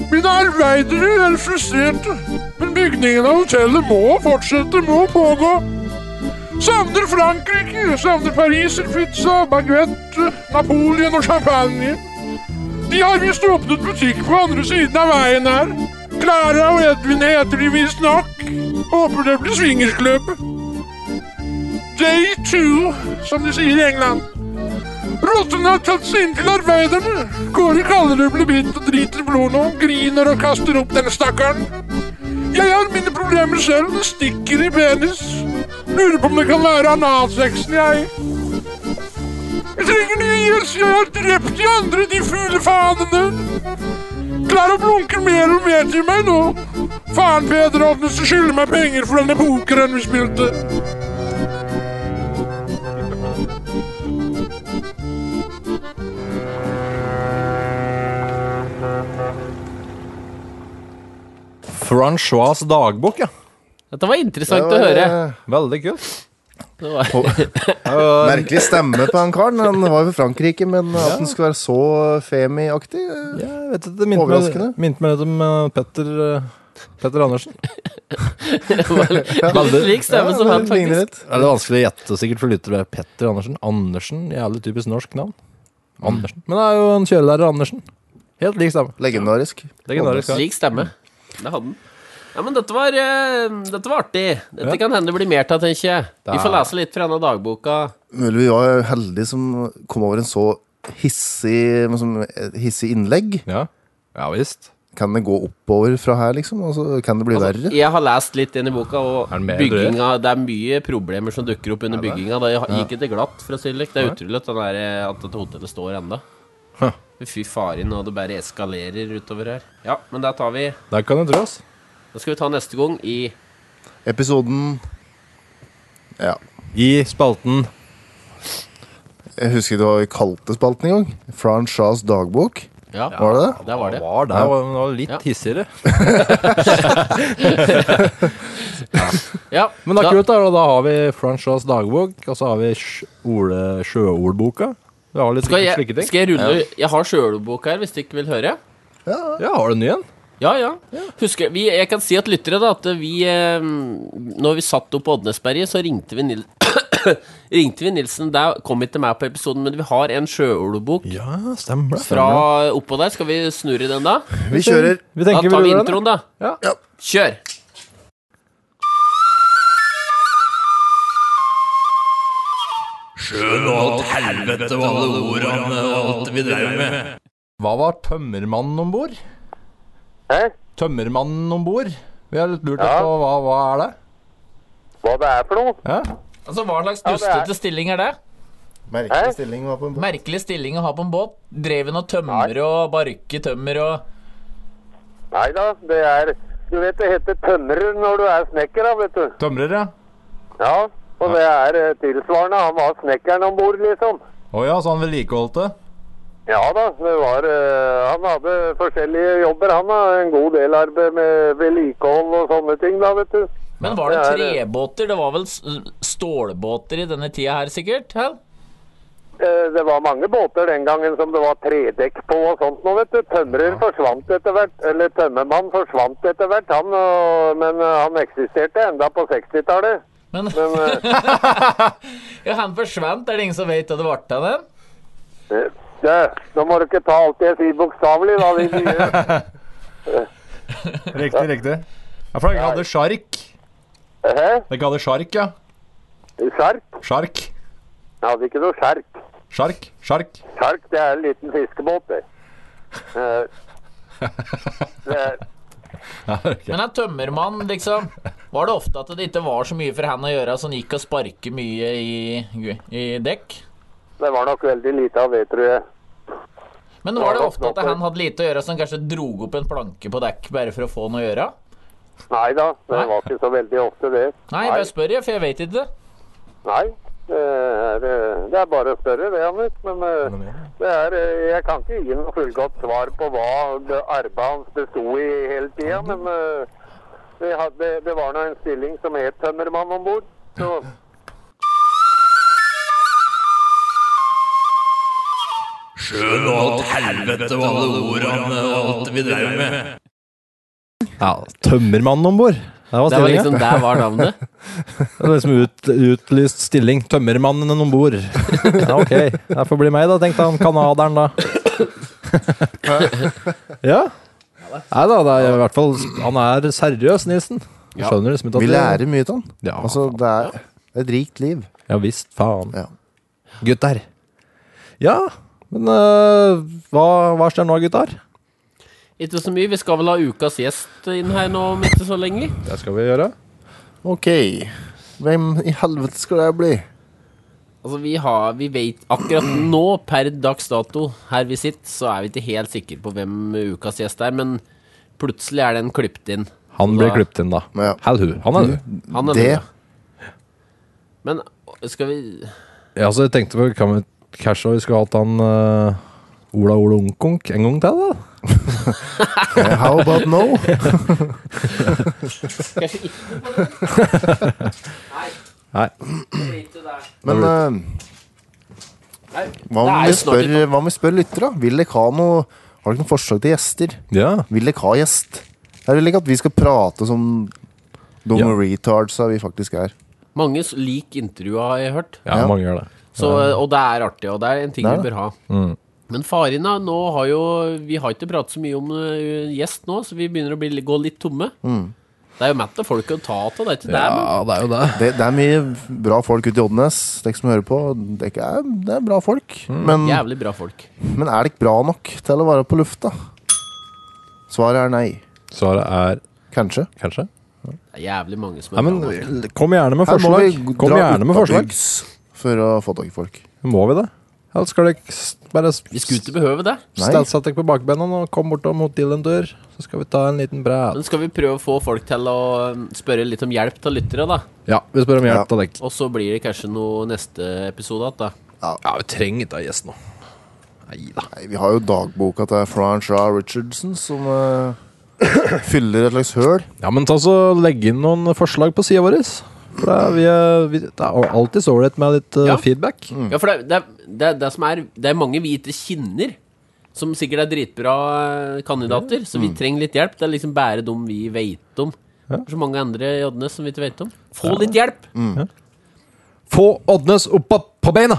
Mine arbeidere er frustrerte, men bygningen av hotellet må fortsette, må pågå. Savner Frankrike, savner pariserpizza, baguette, Napoleon og champagne. De har visst åpnet butikk på andre siden av veien her. Klara og Edvin heter de visstnok. Håper det blir swingersklubb. Day two, som de sier i England. Rottene har tatt seg inn til arbeiderne. Kåre kaller det blir bitt og driter blod nå. Griner og kaster opp den stakkaren. Jeg har mine problemer selv. Det stikker i penis. Lurer på om det kan være analsexen, jeg. Jeg trenger ny hjelp. Jeg har drept de andre, de fule fanene. Klar og blunker mer og mer til meg nå. Faren Peder Odnes skylder meg penger for denne pokeren vi spilte.
Francois' dagbok, ja.
Dette var interessant
Det
å
var,
høre.
eh,
Veldig kult. eh,
Det var,
Merkelig stemme på han karen. Han var jo fra Frankrike, men at han skulle være så femi-aktig eh,
Ja, jeg vet ikke, det minte meg,
Overraskende.
minte meg litt om eh, Petter, eh, Petter Andersen.
det var litt slik stemme som han, faktisk.
ligner litt.
Er det vanskelig å gjette sikkert for lyttere? Petter Andersen? Andersen? Jævlig typisk norsk navn. Andersen. Men det er jo en kjørelærer Andersen. Helt lik stemme.
Legendarisk.
Legendarisk. ja.
Slik stemme. Det hadde den. Ja, men dette var, eh, dette var artig. Dette
Ja.
kan hende det blir mer av, tenker jeg. Vi får lese litt fra denne dagboka.
Mulig vi var heldige som kom over en så hissig, men som et hissig innlegg.
Ja. ja visst.
Kan det gå oppover fra her, liksom? Altså, kan det bli verre?
Jeg har lest litt inn i boka, og
Er det mer
bygginga Det er mye problemer som dukker opp under bygginga. Det gikk ikke glatt, for å si det litt. Det er utrolig at, den der, eh, at dette hotellet står enda Fy faren, og det bare eskalerer utover her. Ja, men der tar vi
Der kan du tro, ass.
Da skal vi ta neste gang i
Episoden Ja.
I spalten
Jeg husker ikke hva vi kalte spalten engang. Fran Shahs dagbok.
Ja,
Var det det?
der var det.
Var der, var, var litt
Ja.
hissigere.
Ja,
Men det
da-
er kult, da. Da har vi Franchas dagbok, og så har vi Sj- Ole Sjøordboka. Vi har litt
Skal
slike
jeg,
slike ting.
skal jeg rulle Jeg har sjølbok her, hvis du ikke vil høre.
Ja, har du en ny en?
Ja, ja. Husker, vi, jeg kan si at lyttere, da, at vi eh, Når vi satt opp på Oddnesberget, så ringte vi Nil Ringte vi Nilsen. Der kom ikke meg på episoden, men vi har en sjøolebok
Ja, stemmer det.
fra oppå der. Skal vi snurre den, da?
Vi kjører.
Vi
Da
tenker
tar vi
gjør det, da.
introen, da.
Ja.
Kjør!
Hva var tømmermannen om bord?
Hæ?
Tømmermannen om bord? Vi har litt lurt
Ja.
på hva, hva er det?
Hva det er for noe?
Ja?
Altså, Hva slags
det er-
dustete stilling er det?
Merkelig stilling var på en båt.
Merkelig stilling å ha på en båt. Drev hun og tømmer og barke tømmer og
Nei da, det er Du vet det heter tømrer når du er snekker, da, vet du.
Tømrer, ja.
Ja, og det er eh, tilsvarende. Han var snekkeren om bord, liksom.
Å ja, så han vedlikeholdt det?
Ja da, det var eh, Han hadde forskjellige jobber, han. da. En god del arbeid med vedlikehold og sånne ting, da, vet du.
Men var det
det er det.
trebåter? Det var vel s- stålbåter i denne tida her, sikkert? Hæ?
Eh, Det var mange båter den gangen som det var tredekk på og sånt nå, vet du. Tømrer forsvant etter hvert. Eller tømmermann forsvant etter hvert, han. Og, men eh, han eksisterte enda på 60-tallet.
Men
Men eh,
Ja, han forsvant. Er det ingen som vet hva det ble av den?
Du, Eh, nå må du ikke ta alt jeg sier bokstavelig, da. din nye.
Riktig, riktig. Ja, for dere hadde sjark.
Hæ?
Dere hadde sjark, ja.
Sjark?
Sjark.
Jeg hadde ikke noe sjark.
Sjark. Sjark.
Sjark, det er en liten fiskebåt, det. Eh, det er-
Men en tømmermann, liksom. Var det ofte at det ikke var så mye for han å gjøre, så han gikk og sparket mye i, i dekk?
det var nok veldig lite av det, tror jeg.
Men var det ofte at han hadde lite å gjøre, så han kanskje drog opp en planke på dekk bare for å få noe å gjøre?
Nei da,
Nei.
det var ikke så veldig ofte, det.
Nei, jeg bare spør, jeg, for jeg vet ikke.
Nei. Det er, eh, det er bare å spørre, det, Anders. Men eh, det er, eh, jeg kan ikke gi noe fullgodt svar på hva det arbeidet hans besto i hele tida. Men eh, vi hadde, det var nå en stilling som het tømmermann om bord. Så
Ja, tømmermannen om bord. Det var
Det var
stillinga.
liksom der var navnet.
Det var liksom ut, utlyst stilling. Tømmermannen om bord. Ja, ok. Det får bli meg, da, tenkte han canaderen, da. Ja. Nei da, det er i hvert fall Han er seriøs, Nilsen. Du skjønner liksom ikke at
Vi
det-
lærer mye av den.
Ja,
Altså, det er det er et rikt liv.
ja visst, faen.
Ja.
Gutter. Ja, men øh, hva, hva skjer nå, gutter?
Ikke så mye. Vi skal vel ha ukas gjest inn her nå om ikke så lenge.
Det skal vi gjøre.
OK. Hvem i helvete skal det bli?
Altså, vi har Vi vet akkurat nå, per dags dato, her vi sitter, så er vi ikke helt sikre på hvem ukas gjest er, men plutselig er den klippet inn.
Han blir klippet inn, da.
Ja. Mm.
Hell who. Han er du.
Han er
Det-
med. Men skal vi
Ja, så jeg tenkte på Kan vi cashe vi skulle hatt han eh, Ola Ola Ungkonk en gang til, da?
How about no?
Kanskje ikke
Nei.
Men eh, hva om
Det er
vi
jo snart
spør, hva om vi spør lyttere? da? Vil dere ha noe Har dere noen forslag til gjester?
Ja.
Vil dere ha gjest? Jeg vil ikke at vi skal prate som dumme
Ja.
retards vi faktisk er.
Mange s- lik intervju har jeg hørt,
ja,
Ja.
mange gjør det.
så, og det er artig, og det er en ting
Det er
vi
det.
bør ha. Men Farina, nå har jo Vi har ikke pratet så mye om eh, gjest nå, så vi begynner å bli, gå litt tomme.
Mm.
Det er jo mett av folk å ta av, det er ikke det, men
det er jo det.
Det, det er mye bra folk ute i Oddnes. Dere som hører på, det er, ikke- eh, det er bra folk.
Mm.
Men,
jævlig bra folk.
men er det ikke bra nok til å være på lufta? Svaret er nei.
Svaret er
Kanskje.
kanskje?
Det er jævlig mange som
Nei,
er
men
bra.
kom gjerne med
Her må
forslag.
vi
Kom
dra
gjerne med
ut av
forslag.
byggs For å få tak i folk.
Må vi det? Eller skal dere s- bare s-
Vi skulle ikke behøve det.
Nei.
statsette dere på bakbena og komme bortom mot Dylan dør, så skal vi ta en liten prat?
Men skal vi prøve å få folk til å um, spørre litt om hjelp til lyttere, da?
Ja, vi spør om
Ja.
hjelp av dere.
Og så blir det kanskje noe neste episode igjen, da.
Ja, vi trenger ikke ha gjest nå. Nei da.
Nei, vi har jo dagboka til Franchard Richardson, som eh, fyller et slags høl.
Ja, men ta så legg inn noen forslag på sida vår. For det er, vi er, vi, det er alltid så ålreit med litt eh,
Ja.
feedback.
Ja, for det, er- det, er- det, er- det som er Det er mange vi ikke kjenner, som sikkert er dritbra eh, kandidater, så vi trenger litt hjelp. Det er liksom bare dem vi veit om. Det er Så mange andre i Oddnes som vi ikke veit om. Få litt hjelp!
Få Oddnes opp på- på beina!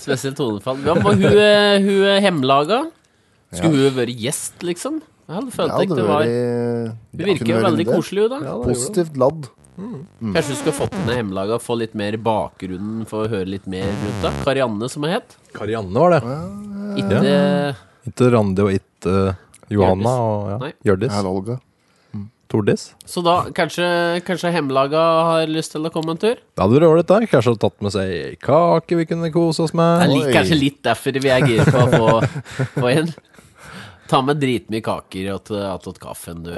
Spesielt tonefall. Ja, men hun, eh, hun er hemlaga. Skulle hun vært gjest, liksom? Ja, det følte jeg ikke det var. Hun virker jo veldig koselig, hun, da.
Positivt ladd.
Kanskje du skal fått ned hjemmelaga og få litt mer bakgrunnen for å høre litt mer rundt det. Karianne, som hun het.
Karianne var det.
Ikke
Ikke Randi og ikke eh, Johanna og ja.
Nei.
Hjørdis.
Her, Olga.
Tordis.
Så da kanskje, kanskje hjemmelaga har lyst til å komme en tur?
Det hadde vært ålreit, der. Kanskje tatt med seg ei kake vi kunne kose oss
Det er
med.
litt,
Oi.
kanskje litt derfor vi er gira på å få, få en. Ta med dritmye kaker og til- og til kaffen, du.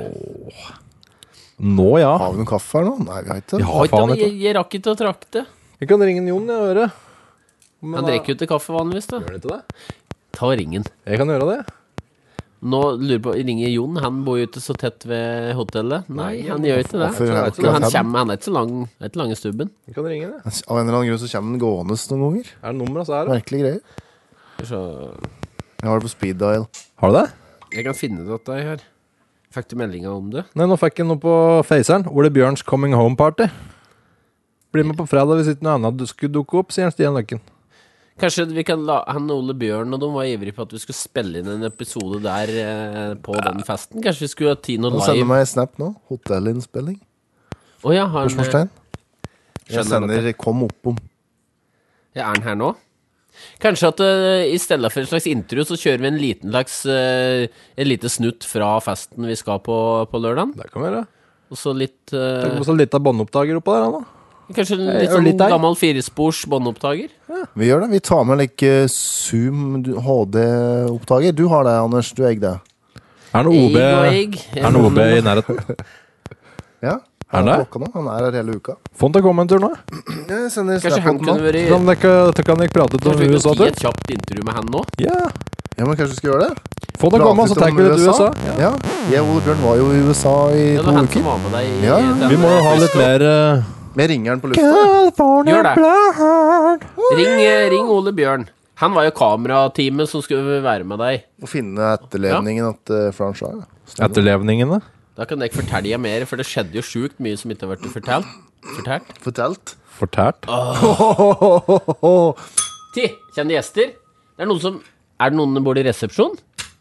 Nå, ja.
Har vi noen kaffe her nå? Nei, vi har ikke det.
Ja,
Oi, da,
faen.
jeg,
vet du.
jeg rakk ikke å trakte.
Vi kan ringe Jon i øret. Men
Han
da-
drikker jo ikke kaffe vanligvis, da.
Gjør han ikke det?
Ta ringen.
Jeg kan gjøre det.
Nå lurer på, ringer Jon. Han bor jo ikke så tett ved hotellet. Nei, han gjør ikke det.
Hvorfor er det
Men han
akkurat her?
kommer, han er ikke så lang, er ikke lang i stubben.
Vi kan ringe det.
Av en eller annen grunn så kommer den gående noen ganger.
Er det nummeret, så er det.
Merkelige greier.
Så
Jeg har det på speed dial.
Har du det?
Jeg kan finne det at jeg her Fikk du meldinga om det?
Nei, nå fikk jeg noe på Faceren. Ole Bjørns Coming Home Party. Bli med på fredag hvis ikke noe annet du skulle dukke opp, sier Stian Løkken.
Kanskje vi kan la han Ole Bjørn og de var ivrige på at vi skulle spille inn en episode der eh, på den festen? Kanskje vi skulle ha Tino
Han sender
live?
meg en snap nå. Hotellinnspilling.
Å ja, har han,
Spørsmålstegn. Jeg
skjønner
sender 'kom oppom'.
eh, ja, er han her nå? Kanskje at eh, i stedet for en slags intro, så kjører vi en liten slags eh, En lite snutt fra festen vi skal på på lørdag?
Det kan vi gjøre.
Og så litt eh,
Tenk på så litt av båndopptaker oppå der, han da.
Kanskje en
Eh,
litt
og
sånn
litt der.
gammel firespors båndopptaker?
Vi gjør det. Vi tar med like Zoom du- HD-opptaker. Du har det, Anders. Du eier det.
Er
Egg
det
og
OB,
egg.
er det OB i nærheten?
Ja.
Er han
Han
der?
klokka nå. Han er her hele uka.
Få han til å komme en tur nå.
Jeg sender
Kanskje
snap
han
om
kunne
det.
vært
Kan dere, dere kan dere prate litt
Kanskje
om
vi kan
USA,
gi
tur?
et kjapt intervju med han nå?
Ja.
Ja, men kanskje vi skal gjøre det?
Få han til å komme, så
Prate
tar
litt
vi
om
litt USA.
Ja. Jeg og Ole Bjørn var jo i USA
Ja,
i
det
to
var han som
uker.
var med deg i
Ja, ja.
den-
Vi må jo ha litt mer eh,
Med ringeren på lufta.
Gjør det. Ring, eh, ring Ole Bjørn. Han var jo kamerateamet som skulle være med deg.
Og finne etterlevningen at uh, Frank sa det.
Etterlevningene.
Da kan jeg ikke fortelle deg mer, for det skjedde jo sjukt mye som ikke har vært fortalt. Fortalt?
Fortalt.
Fortært.
Ti, kjente gjester. Det er noen som Er det noen som bor i resepsjon?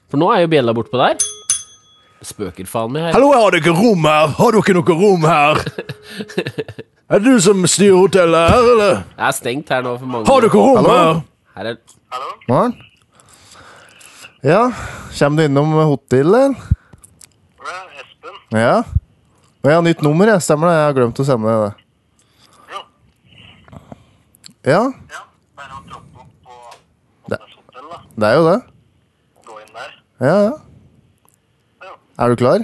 For nå er jo bjella bortpå der. Det Spøker faen meg her.
Hallo, har dere rom her? Har dere noe rom her? Er det du som styrer hotellet her, eller?
Det er stengt her nå for mange.
Har dere rom
Hallo?
her?
Her er
Morgen. Ja, kommer du innom hotellet? Ja, Espen. Ja. Og jeg har nytt nummer, jeg. Stemmer det? Jeg har glemt å sende det. Ja. Det, det er jo det. Ja, ja. Er du klar?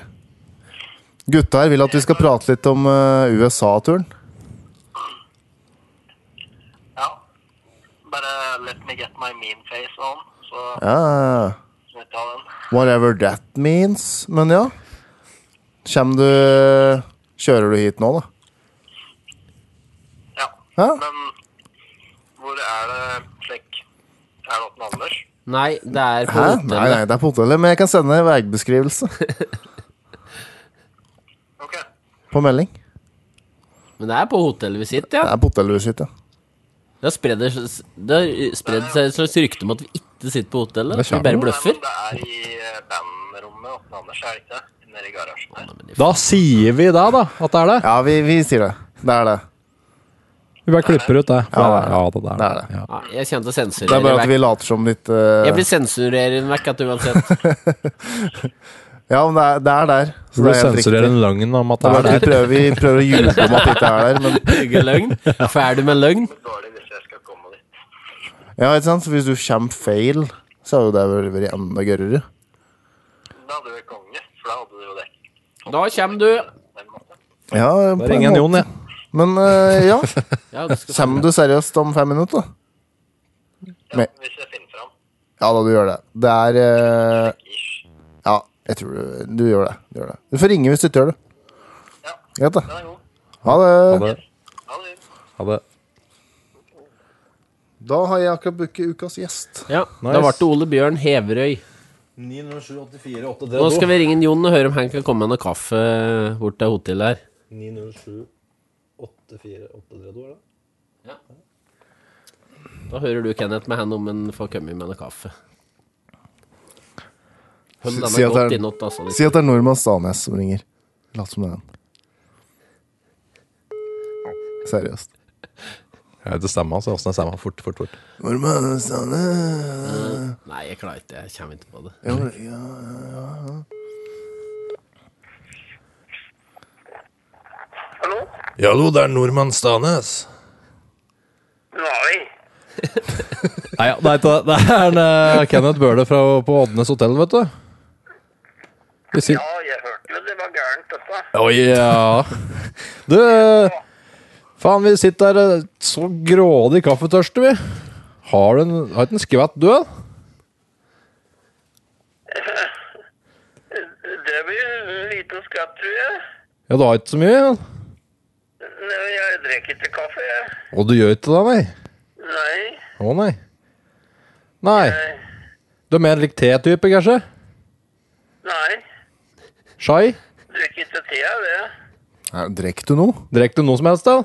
Gutta her vil at vi skal prate litt om eh, USA-turen.
Bare let me get my mean face on, så
Ja, ja, ja.
skal vi ta den.
Whatever that means. Men ja. Kjem du Kjører du hit nå, da?
Ja.
Hæ?
Men hvor er det slik Er det åpen Anders?
Nei, det er på
Hæ? Nei,
hotellet.
nei, det er på hotellet. Men jeg kan sende veibeskrivelse
Ok.
på melding.
Men det er på hotellet vi sitter,
Det
ja.
er på hotellet vi sitter.
Det har spredd det har spredd seg et slags rykte om at vi ikke sitter på hotellet.
Det
At vi bare
kommer.
Nei,
bløffer.
men det er i eh, bandrommet åpen Anders, er det ikke det? Nede i garasjen der.
Da sier vi det, da. At det er det.
Ja, vi, vi sier det. Det er det.
Vi bare klipper ut det. Ja,
det er det.
det, er
Det er det.
Ja.
Nei, jeg kjente å
Det
sensurere
er bare at
vekk.
vi later som litt eh,
Jeg blir sensurerende vekk at uansett.
Ja, men det er, det er der. Så
Du
det er helt riktig.
sensurerer en løgn om at
Det er
det
bare
er
at vi
der.
prøver, vi prøver å ljuge om at det ikke er der, men
Ljuge løgn. For er du med løgn?
Dårlig hvis jeg skal komme dit.
Ja, ikke sant? Så hvis du kommer feil, så hadde jo det vært- vært enda gørrere.
Da hadde du vært konge, for da hadde du jo det.
Da kommer du.
på en måte.
Ja, på
Det
en
ringer en
måte.
Jon, jeg.
Men eh, ja,
Ja, du skal
kommer du seriøst om fem minutter? da? Men-
Hvis jeg finner fram.
Ja da, du gjør det. Det er eh,
Ish.
Ja, jeg tror du, du gjør det. Du gjør det. Du får ringe hvis du ikke gjør det.
Ja.
Greit, da.
Den er god.
Ha
Ha
det.
det.
Ha det.
Ha det.
Da har jeg akkurat booket ukas gjest.
Ja, Da ble
Nice.
det Ole Bjørn Heverøy. Nå skal vi ringe en Jon og høre om han kan komme med noe kaffe bort til hotellet her. Ja. Da hører du, Kenneth, med han om han får komme med noe kaffe. Hold
Si- si
denne
at
godt
det er-
innåt, altså.
Si at det er nordmann Stanes som ringer. Lat som det er han. Seriøst.
Jeg vet ikke stemma, så altså. åssen er stemma? Fort, fort, fort.
Nordmann Stanes
Nei, jeg klarer ikke det. Jeg kommer ikke på det.
Jo, ja, ja.
Hallo?
Hallo, det er nordmann Stanes.
Nei.
Nei, ja, det er ikke det. Det er en, eh, Kenneth Bøhler fra- på Oddnes hotell, vet du. Vi sier
Ja, jeg hørte jo det var gærent, dette.
Oi, ja. Du, eh, faen, vi sitter her eh, så grådig kaffetørste, vi. Har du en, har ikke en skvett, du? da?
Det blir en liten skatt, tror jeg.
Ja, du har ikke så mye? ja.
Nei, Jeg drikker ikke kaffe, jeg.
Å, du gjør ikke det, nei?
Nei.
Å, nei. Nei. Du er mer lik te-type, kanskje?
Nei.
Shai?
Drikker ikke te av det.
Ja, Drekk du noe?
Drekk du noe som helst, da?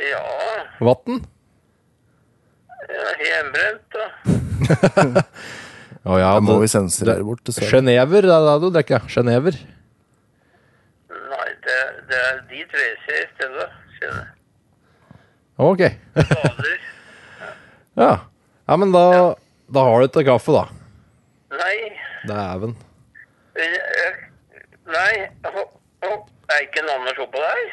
Ja,
Vann?
jeg er hjemmebrent, da.
Å ja,
Da må vi
det-
sensurere bort. dessverre.
Genever, det er det du drikker. Genever.
Nei, det, det er de reiser i stedet, skjønner jeg.
Ok.
Bader.
Ja. ja, men da, da har du ikke kaffe, da.
Nei.
Dæven.
jeg- jeg- Nei. Ho- ho- Er ikke en Anders oppå der?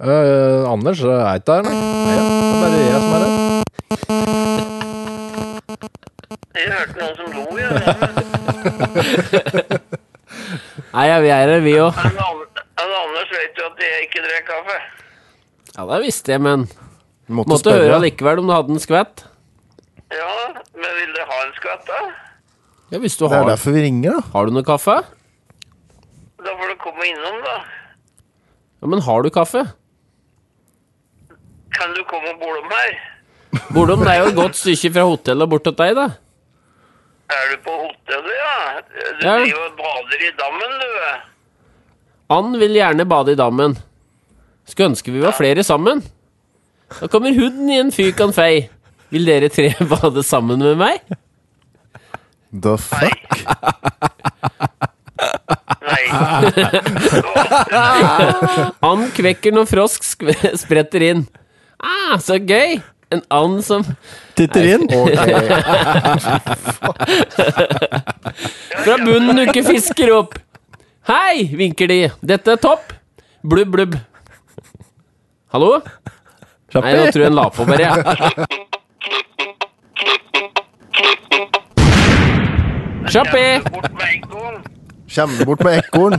Eh, Anders eh, er ikke her, nei. nei ja. Det er bare jeg som er her.
Jeg hørte noen som lo, ja. Er
Nei, ja, vi er her, vi òg.
det An- er det Anders vet jo at jeg ikke drikker kaffe.
Ja, det visste jeg, men
Vi Måtte,
måtte
spørre.
høre allikevel om du hadde en skvett.
Ja, men vil dere ha en skatt, da?
Ja, hvis du
Det er
har,
derfor vi ringer, da.
har du noe kaffe?
Da får du komme innom, da.
Ja, men har du kaffe?
Kan du komme og bole om her?
Bordom, det er jo et godt stykke fra hotellet bort til deg, da.
Er du på hotellet, ja? Du
Ja.
driver og bader i dammen, du.
Han vil gjerne bade i dammen. Skulle ønske vi var flere sammen. Da kommer hunden i en fykan fei. Vil dere tre bade sammen med meg?
The fuck?
Nei.
Han kvekker når frosk skv- spretter inn. Ah, så gøy! en and som
Titter inn.
Fra bunnen du ikke fisker opp. Hei, vinker de. Dette er topp. Blubb, blubb. Hallo? Nei, nå tror jeg en la på bare, jeg. Sjappi!
Bort med eggkorn.
Kjem du bort med ekorn?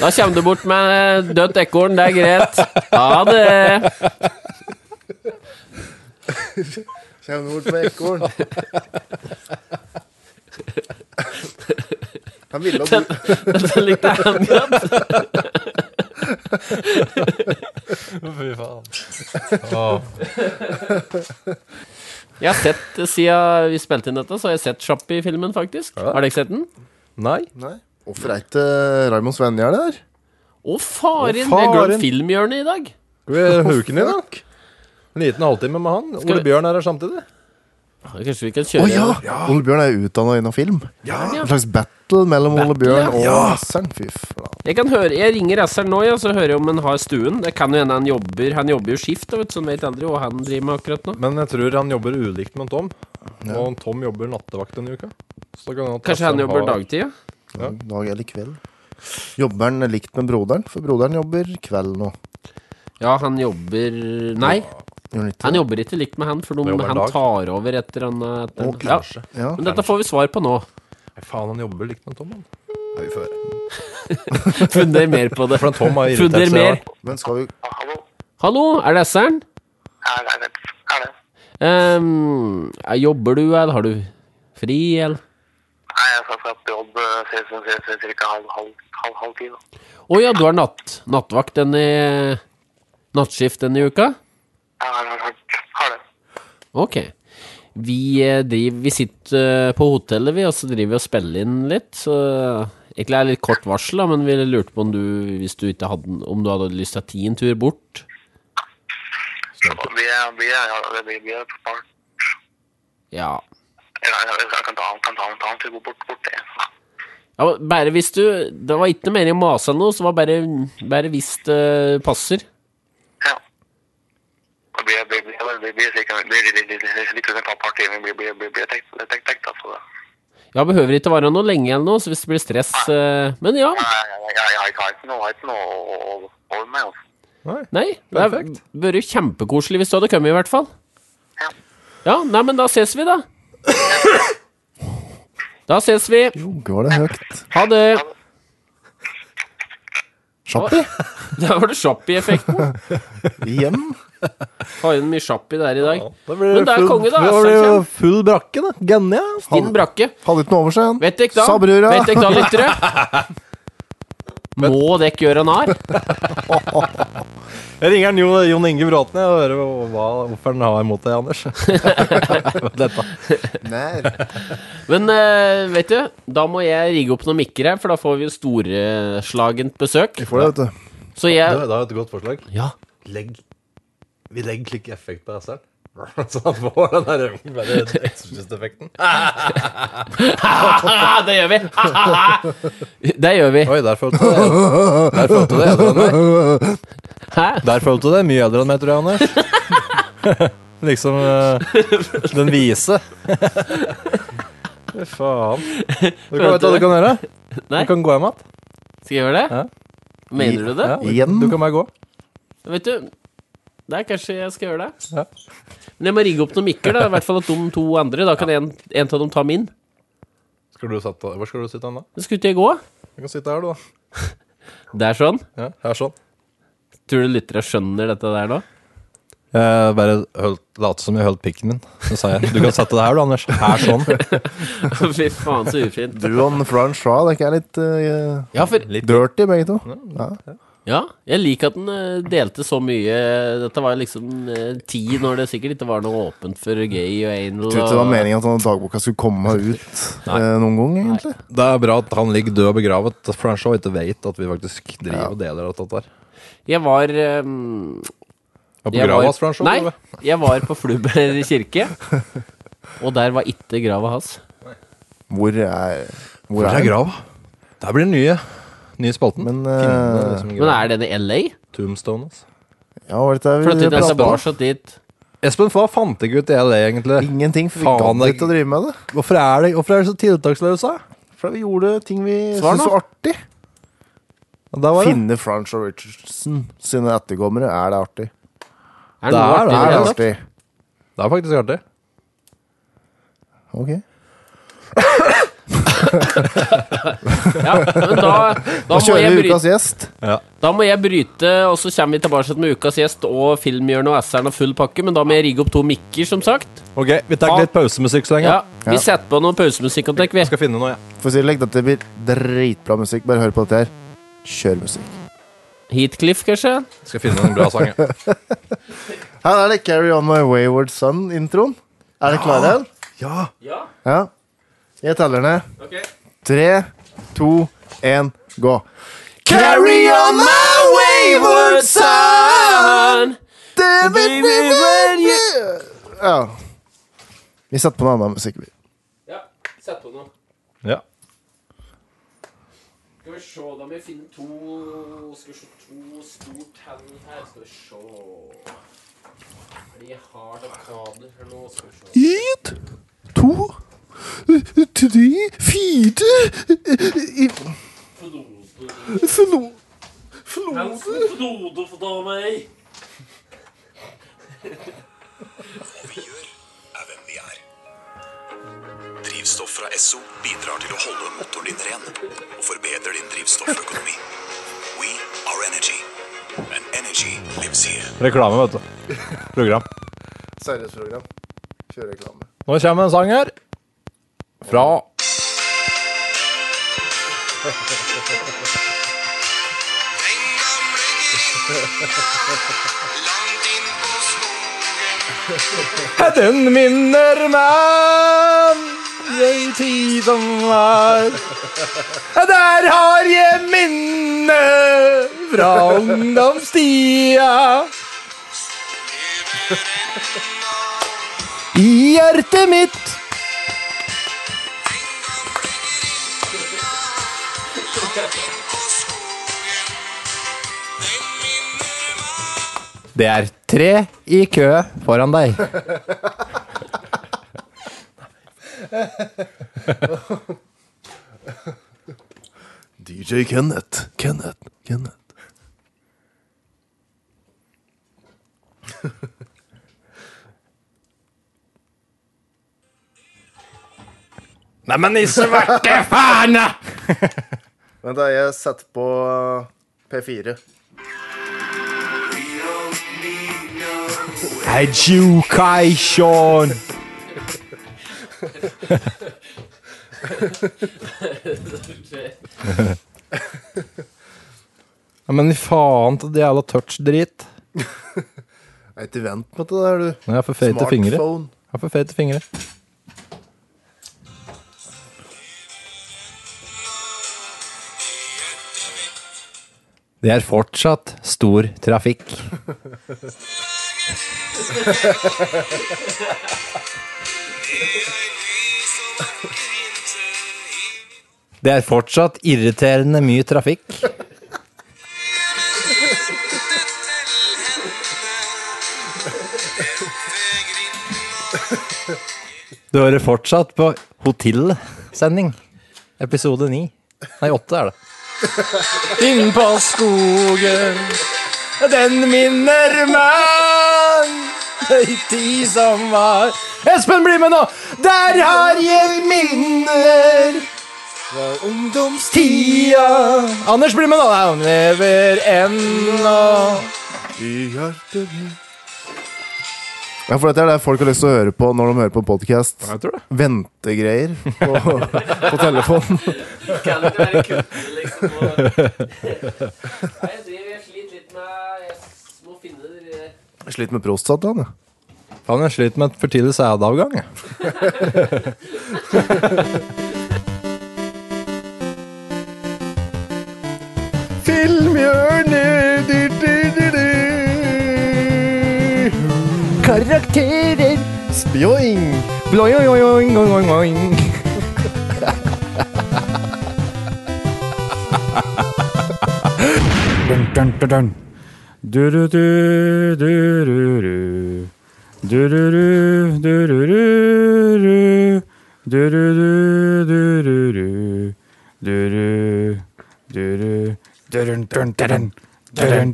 Da kommer du bort med eh, dødt ekorn, det er greit. Ha det.
Kjem du bort med ekorn? Han ville ha bort
Den likte jeg godt.
Fy faen.
Jeg har sett, eh, siden vi spilte inn dette, så har jeg sett Sjappi-filmen, faktisk. Har dere sett den?
Nei.
Nei. Hvorfor er ikke Raymond Svenjerd der?
Å,
Å,
faren! Vi har
faren.
glemt filmhjørnet i dag.
Skal vi huke den i, da? En liten halvtime med han.
Skal
Ole
vi-
Bjørn er her samtidig.
Kanskje vi kan
Å
kjøre
ja! Ole Bjørn er utdanna innen film. En slags battle mellom Ole Bjørn og Assern. Fy faen.
Jeg kan høre, jeg ringer Razzeren nå, ja, så hører jeg om han har stuen. Det kan jo hende han jobber Han jobber jo skift, da, vet du, så han vet aldri hva han driver med akkurat nå.
Men jeg tror han jobber ulikt med Tom. Og Tom jobber nattevakt denne uka. Så kan
Kanskje han jobber dagtid, ja?
Dag eller kveld. Jobber han likt med broderen? For broderen jobber kveld nå.
Ja, han jobber Nei,
Gjør han ikke
han
det?
jobber ikke likt med han, for
Han
de,
jobber
han
dag.
tar over et eller annet
Å,
ja.
kanskje.
Ja.
Men dette får vi svar på nå.
Nei, faen, han jobber likt med Tom, han.
Nei, vi får høre.
Funder mer på det.
For Tom har irritert
Funder
seg.
mer.
i dag.
Men skal vi
Hallo?
Hallo, er det Razzeren?
Er det, er det?
Ehm, ja, jobber du, eller har du fri, eller?
Nei, jeg skal fra på jobb eh, ses om ses om cirka halv, halv, halv, halv ti nå.
Å ja, du har natt, nattvakt denne Nattskift denne uka?
Ja, har, har, har, har det.
Ok. Vi, eh, driver, vi sitter eh, på hotellet, vi, og så driver vi og spiller inn litt. Så egentlig er det litt kort varsel, da, men vi lurte på om du, hvis du ikke hadde, om du hadde lyst til å ta en tur bort.
Vi er, vi er, ja, det blir, vi er på barn.
Ja.
Jeg, jeg, jeg, jeg kan ta, kan ta, ta en tur bort, bort det.
ja men bare hvis du Det var ikke noe mer i å mase enn noe, så var bare, bare hvis det passer.
Ja. Det blir, blir, blir, blir, blir, blir, cirka- blir, blir, blir, blir litt under et par timer, blir, blir, blir, blir tenkt, tenkt, tenkt, altså.
Ja, behøver ikke være noe lenge eller noe, så hvis det blir stress eh, Men ja.
Nei, jeg, jeg, jeg, jeg har ikke noe, jeg har ikke noe å- å- å- over meg, altså.
Nei. Det er-
Perfekt.
vært jo kjempekoselig hvis du hadde kommet, i hvert fall.
Ja.
Ja, nei, men da ses vi, da. Da ses vi.
Går det høyt?
Ha det.
Sjappi?
Der var det Sjappi-effekten.
Igjen?
Har inn mye Sjappi der i dag.
Da blir
Men det er
full-
konge,
Da
da.
blir det jo
Sandkjem.
full brakke, da. Genia.
Din brakke.
Hadde ikke noe over seg, han.
Vet dere da,
Sa brura.
Vet dere da, lyttere? Må dere gjøre narr?
Jeg ringer han Jon, Jon Inge Bråten jeg, og hører hva- hva, hvorfor han har imot deg, Anders. Dette.
Nei.
Men eh, vet du, da må jeg rigge opp noen mikker her, for da får vi jo storslagent besøk.
Vi får det, vet du.
Så
Du,
jeg
det er et godt forslag.
Ja.
Legg Vi legger slik effekt på S-en. Så han får den der bare Exorcist-effekten.
Ah, det gjør vi! det gjør vi.
Oi, der følte du det. Der følte du
Hæ?
det eldre enn meg. Der følte du det mye eldre enn meg, tror jeg, Anders. liksom eh, den vise. Fy faen. Du kan,
Følte
vet du hva
det?
du kan gjøre?
Nei.
Du kan gå hjem igjen.
Skal jeg gjøre det?
Ja.
Mener du det?
Ja,
Igjen?
Du kan bare gå.
Vet du, det er kanskje jeg skal gjøre det.
Ja.
Men jeg må rigge opp noen mikker, da. I hvert fall at de to andre. Da kan en, en av dem ta min.
Skal du sitte, hvor skal du sitte hen, da?
Men skal ikke jeg gå?
Du kan sitte her, du, da.
Det er sånn.
Ja, her sånn.
Tror du lyttere skjønner dette der nå?
Jeg Eh, bare holdt, lot som jeg holdt pikken min. Så sa jeg du kan sette deg her, du, Anders. Her sånn.
Fy faen, så ufint.
Du og en Fran Shaw, dere er litt eh,
Ja, for
dirty, begge to. Ja.
Ja, jeg liker at den eh, delte så mye. Dette var liksom eh, ti når det sikkert ikke var noe åpent for gay og anal.
Jeg tror ikke det var
og-
meningen at denne dagboka skulle komme ut eh, noen gang, egentlig.
Det er bra at han ligger død og begravet, for han så ikke vet at vi faktisk driver
Ja.
og deler alt dette her.
Jeg var eh,
Og
Jeg
begravet
var-
oss, for han så
Nei,
død.
jeg var på Flubber kirke, og der var ikke grava hans.
Hvor er Hvor
Hvor er
er den?
grava? Der blir den nye. Nye spalten.
Men,
Finne
eh,
liksom
Men
grava.
er den i LA?
Tombstone, altså.
Ja, var det det
For at
vi
det
pratet
var
om?
så dit
Espen, hva fant ikke ut det, det egentlig?
Ingenting, for vi
Faen,
gadd
det-
ikke å drive med det.
Hvorfor er det, hvorfor er det så tiltaksløse?
For vi gjorde ting vi
Svar
syntes
nå.
var artig.
Da var det.
Finne Franch og Richardson sine etterkommere, er det artig?
Er det noe
Der,
artig?
Er
med
det
det?
artig?
Det er faktisk artig.
Ok.
Ja, men da, da,
Da
må jeg
kjører vi
bryte,
ukas gjest.
da må jeg bryte, og så kommer vi tilbake med ukas gjest og filmhjørnet og S-eren og full pakke, men da må jeg rigge opp to mikker, som sagt.
Ok, vi tar litt pausemusikk så lenge.
Ja, Vi setter på noe pausemusikk og tek, vi.
Skal finne noe, ja.
For å si det like, dette blir dritbra musikk. Bare hør på dette her. Kjør musikk.
Heatcliff, kanskje?
Skal finne en bra sang, ja.
Her er det Carry On My Wayward Son-introen. Er dere klare?
Ja.
Ja. Jeg teller ned.
Ok.
Tre, to, én, gå. Carry on my wayward
Sånn!
Ja. Vi setter på noe annen musikk. vi.
Ja, sett på noe.
ja.
Skal vi se, da må jeg finne to Skal vi se, to stort hand her. Skal vi se De har da kabler her nå. Skal vi se.
Ett, to, tre, eh, fire Flode.
Hansen Flode for dama ei.
er hvem vi er. Drivstoff fra Esso bidrar til å holde motoren din ren og forbedrer din drivstofføkonomi. We are energy. And energy lives here.
Reklame, vet du. Program.
Seriøst program. Kjør reklame.
Nå kommer en sang her. Fra
Den gamle grinda, langt inn på skogen.
Den minner meg den tiden var. Der har jeg minne fra ungdomstida. I hjertet mitt. Det er tre i kø foran deg.
DJ Kenneth. Kenneth. Kenneth.
Neimen, i svarte faen!
Vent, da. Jeg setter på eh, P4.
Education! Ja, men i faen til det jævla touch-drit.
Jeg er ikke vent med det der, du.
Jeg har for feite fingre. Jeg
Smartphone.
har for feite fingre. Det er fortsatt stor trafikk. Det er fortsatt irriterende mye trafikk. Du hører fortsatt på Hotell-sending. Episode ni. Nei, åtte er det. Inn på skogen, den minner meg ei tid som var Espen, bli med nå! Der har jeg minner fra ungdomstida. Anders, bli med nå! Nei, Han lever ennå.
Ja, for dette er det folk har lyst til å høre på når de hører på podkast.
Jeg tror det.
Ventegreier på, på telefonen.
Kan ikke være kunden, liksom. Og... Nei, jeg driver jeg sliter litt med Jeg må finne det
Jeg sliter med prostata. da.
Faen, jeg sliter med et for tidlig sædavgang. jeg.
Filmhjørnet Karakterer Spjoing
Bloi, oi, oi, oi, oi, oi, oi.
Dun, dun, dun, dun. Du, du, du, du, du, du.
Dururu, dururu, dururu, dururu, duru, duru, durun, durun, durun, durun, durun, durun,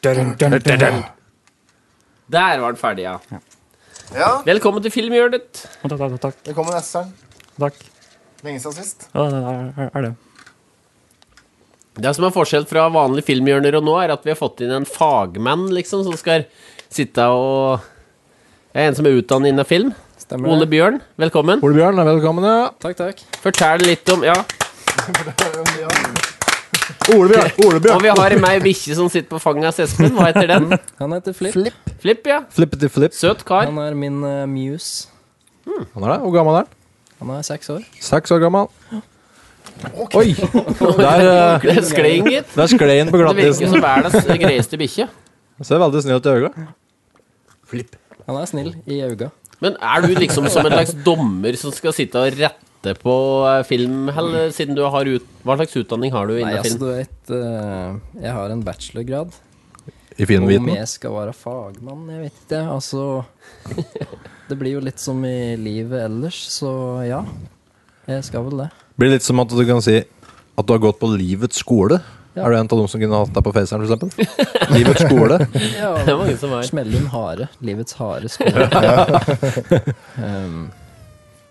durun, durun, durun.
Der var den ferdig, ja.
Ja,
Velkommen til Filmhjørnet.
Takk, takk, takk,
det kommer neste sang.
takk.
Lenge siden sist.
Ja, det er- er det.
Det som er forskjell fra vanlige filmhjørner og nå, er at vi har fått inn en fagmann, liksom, som skal sitte og Jeg er en som er utdannet innen film.
Stemmer
Ole Bjørn, velkommen.
Ole Bjørn, velkommen. Ja.
Takk, takk. Fortell litt om Ja.
Ole Bjørn, Ole
Og vi har meg bikkje som sitter på fanget av Espen. Hva heter den?
Han heter Flip.
Flipp, ja.
Flippety flip.
Søt kar.
Han er min eh, muse.
Han er det. Hvor gammel er han?
Han er seks år.
Seks år gammel. Oi! Der, eh,
Det sklei inn, gitt.
der sklei han på
Det virker
glattisen.
som verdens greieste bikkje.
Ser veldig snill ut i øynene.
Han er snill i auga.
Men er du liksom som en slags dommer som skal sitte og rette på eh, film, eller siden du har ut... Hva slags utdanning har du
Nei,
innen
altså,
film?
du vet eh, Jeg har en bachelorgrad.
I
Om
filmviten.
jeg skal være fagmann, jeg vet ikke. Altså Det blir jo litt som i livet ellers, så ja. Jeg skal vel det.
Blir litt som at du kan si at du har gått på livets skole.
Ja.
Er du en av dem som kunne hatt deg på Faceren, for eksempel? livets skole.
Det er mange som er
Smellum hare. Livets harde skole. um,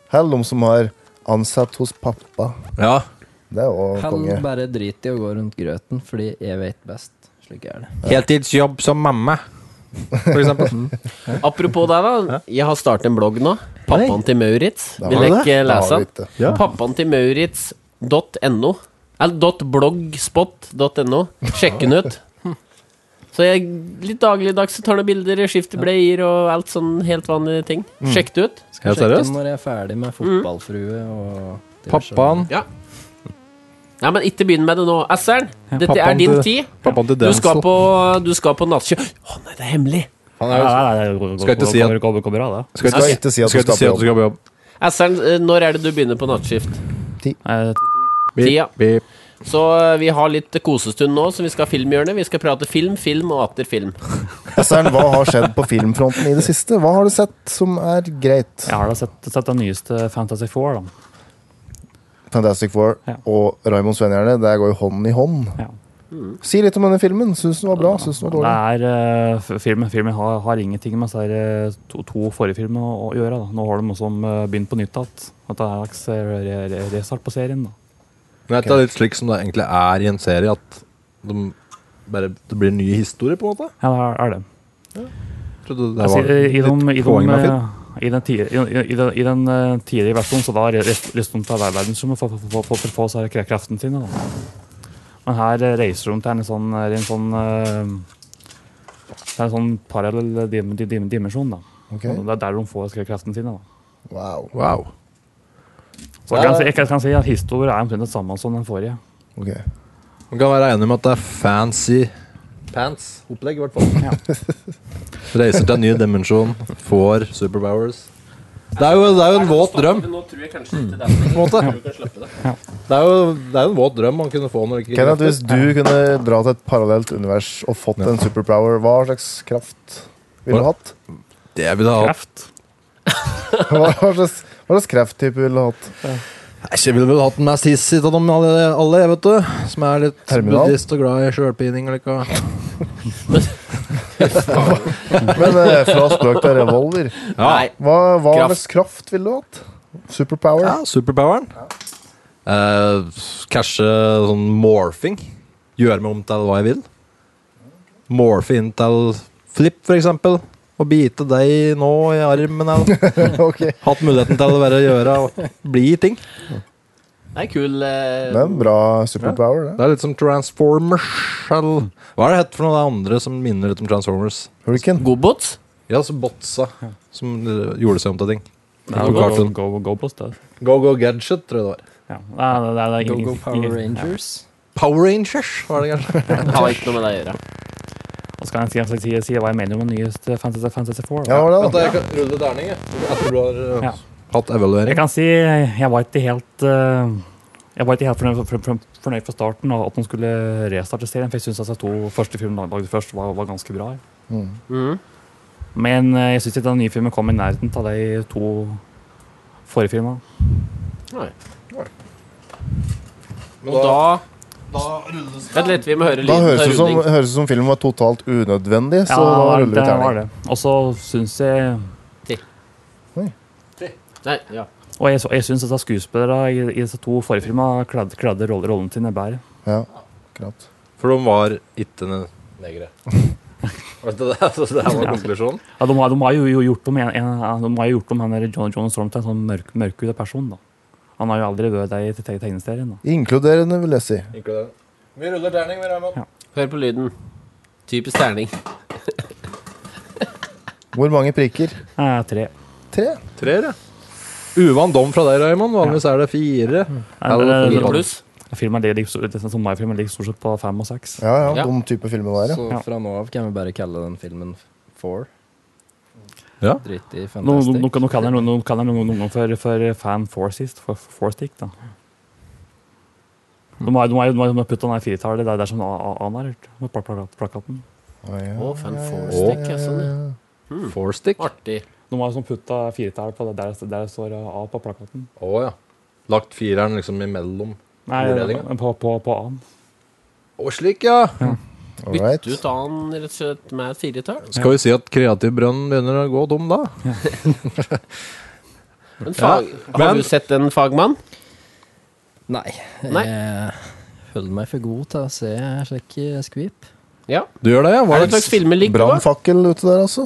Hell de som har ansatt hos pappa.
Ja.
Det er òg
han
konge.
bare driter i å gå rundt grøten, fordi jeg vet best. Slik er det.
Heltidsjobb som mamma, for eksempel.
Apropos deg, da. Jeg har startet en blogg nå. Pappaen til Maurits. Vil jeg ikke lese den?
Ja.
Pappaen til Maurits.no. Eller .blogspot.no. Sjekk den ut. Hm. Så jeg litt dagligdags så tar noen bilder, skifter bleier og alt sånn helt vanlige ting.
Mm.
Sjekk det ut.
Skal
Helt
sjekke
seriøst?
når jeg er ferdig
Mm.
med fotballfrue og diverse.
Pappaen
Nei, men ikke begynn med det nå. Asseren, dette er
Pappaen
din
til-
tid.
Pappaen til
Du skal
Denzel.
på, du skal på nattkjø... Å nei, det er hemmelig!
Han er
Ja,
jo
ja, ja, det går-
Skal ikke
går-
si at-
går- går- går bra, det.
Skal
Skal ikke si at du
skal ikke
skal
si
på
at du skal på jobb.
Asseren, eh, når er det du begynner på nattskift?
Eh,
Tida.
Beep.
Så eh, vi har litt kosestund nå, så vi skal ha filmhjørnet. Vi skal prate film, film og atter film.
Esern, hva har skjedd på filmfronten i det siste? Hva har du sett som er greit?
Jeg har da sett, sett den nyeste Fantasy Four, da.
Fantastic Four
Ja.
og Raymond Svenhjerne, det går jo hånd i hånd.
Ja.
Si litt om denne filmen. Syns den var bra? Syns den var dårlig?
Det er, eh, f- filmen filmen har, har ingenting med disse her, eh, to, to forrige filmene å, å gjøre. Da. Nå har de også eh, begynt på nytt igjen. At det er en slags eh, re, re, restart på serien. Da.
Men dette er litt slik som det egentlig er i en serie, at de bare, det blir en ny historie, på en måte.
Ja, det er- er det.
Trodde det
Jeg sier,
var
eh, I, de, i,
litt poenget
de,
med film.
eh, i, den tidlig- i, i, den- I den eh, tidlige versjonen så var det rest- resten av verdensrommet for for- for- for- for å få seg kre- kreftene sine. Da. Men her eh, reiser de til en sånn, er i en sånn eh, det er en sånn parallell dim, dim, dim, dimensjon. da.
Ok.
Og Det er der de får kre- kreftene sine. da.
Wow.
Wow.
Så jeg kan, si, jeg kan si at historien er omtrent det samme som den forrige.
Ok.
Man kan være enig om at det er fancy pants-opplegg, i hvert fall. Reiser til en ny dimensjon, får superpowers. Det er jo, det er jo en våt drøm,
Nå tror jeg kanskje ikke det er
på en måte.
kan slippe det.
Det er jo, det er jo en våt drøm man kunne få når det
Kenneth, hvis du kunne dra til et parallelt univers og fått en superpower, hva slags kraft ville du hatt?
Det vil jeg ha.
Kreft.
Hva slags, hva slags krefttype ville du hatt?
Jeg ville vel hatt den mest hissig av dem alle, alle, vet du. Som er litt
Terminal.
buddhist og glad i sjølpining og like.
Men eh, fra spøk til revolver.
Nei,
Hva, hva
Kraft.
slags kraft ville du hatt? Superpower?
Ja, superpoweren. Eh, Kanskje sånn morphing. Gjøre meg om til hva jeg vil. Morphe inn til Flip, for eksempel. Og bite deg nå i armen. Eller.
Ok.
Hatt muligheten til å være gjøre og bli ting.
det er kul eh,
Det er en bra superpower, det.
Det er litt som Transformers. Eller. Hva er det hett for noe av det andre som minner litt om Transformers?
Hurricane.
Godbots?
Ja, så botsa som eh, gjorde seg om til ting.
Nei,
På
Go,
kartet.
go, altså. go Post, det.
Go Go Gadget, tror jeg det var.
Ja. Nei, det, det, det er
Go
ingen-
Go Power
ingen-
Rangers.
Power Rangers, var det kanskje?
Har ikke noe med det å gjøre.
Ja. Og så kan jeg si, si, si hva jeg mener om den nyeste Fantasy, Fantasy Four. da.
Ja, hva
Vent,
da?
da, jeg kan rulle terning, jeg. Etter du har eh,
Ja.
hatt evaluering.
Jeg kan si jeg var ikke helt eh, Jeg var ikke helt fornøyd, for, for, fornøyd fra starten av at de skulle restarte serien. For jeg syns de to første filmene de lagde først, var, var ganske bra.
Mm.
Mhm.
Men eh, jeg syns ikke den nye filmen kom i nærheten av de to forrige filmene.
Nei.
Men
Og da Vent litt, vi må høre
Da
lyden
høres
av
det som,
rulling.
høres det som filmen var totalt unødvendig, så da ruller vi
det var
terning.
det. Og så syns jeg
Nei, ja.
Og jeg, så- jeg syns at skuespillerne i, i disse to forrige filmene kladde, kladde roll- rollen sin bedre.
Ja, akkurat.
For de var ikke ne- negre. Var det det? Så det her var
Ja.
konklusjonen?
Ja, de, har- de har jo jo gjort om, en, en, de har jo gjort om han der John, John Storm til en sånn mørk, mørkhudet person, da. Han har jo aldri vært det i te- te- tegneserien. da.
Inkluderende, vil jeg si.
Vi ruller terning, vi, Raymond.
Hør på lyden. Typisk terning.
Hvor mange prikker?
Eh, tre.
Tre?
Treer, ja. Uvan dom fra deg, Raymond. Vanligvis er det fire.
Nei, det- det-
Eller
det-
fire
Pluss.
Filmen ligger, ligger, stort- disse sommerfilmene sånn ligger stort sett på fem og seks.
Ja, ja,
Ja.
de type filmer der, ja.
Så
Ja.
fra nå av kan vi bare kalle den filmen Four.
Ja.
Drit i
Nå, nå, nå,
Fantastic.
nå kaller jeg noen- noen kaller jeg noen noen ganger for, for Fan Foursist. For, for Fourstick, da. De har de har jo de har jo puttet den firetallet der, der som A- A- A-en er, på pla- pla- plakaten.
Å, ja.
Å, fan forestikk, ja, sånn, ja.
Four-stick. Å
Artig.
De har jo sånn puttet firetall på det der, der det står A på plakaten.
ja. Lagt fireren liksom imellom.
Nei,
Vurderinga?
på, på, på A-en.
Å, slik, ja.
All right.
Bytte ut annen rett og slett med et firetall.
Skal vi si at kreativ brønn begynner å gå tom, da?
Men fag,
men-
har du sett en fagmann?
Nei.
Nei.
Jeg holder meg for god til å se slike skvip.
Ja.
Du gjør det, ja?
Er
Var
det en
det
slags filmeligg? Du
Brannfakkel ute der, altså.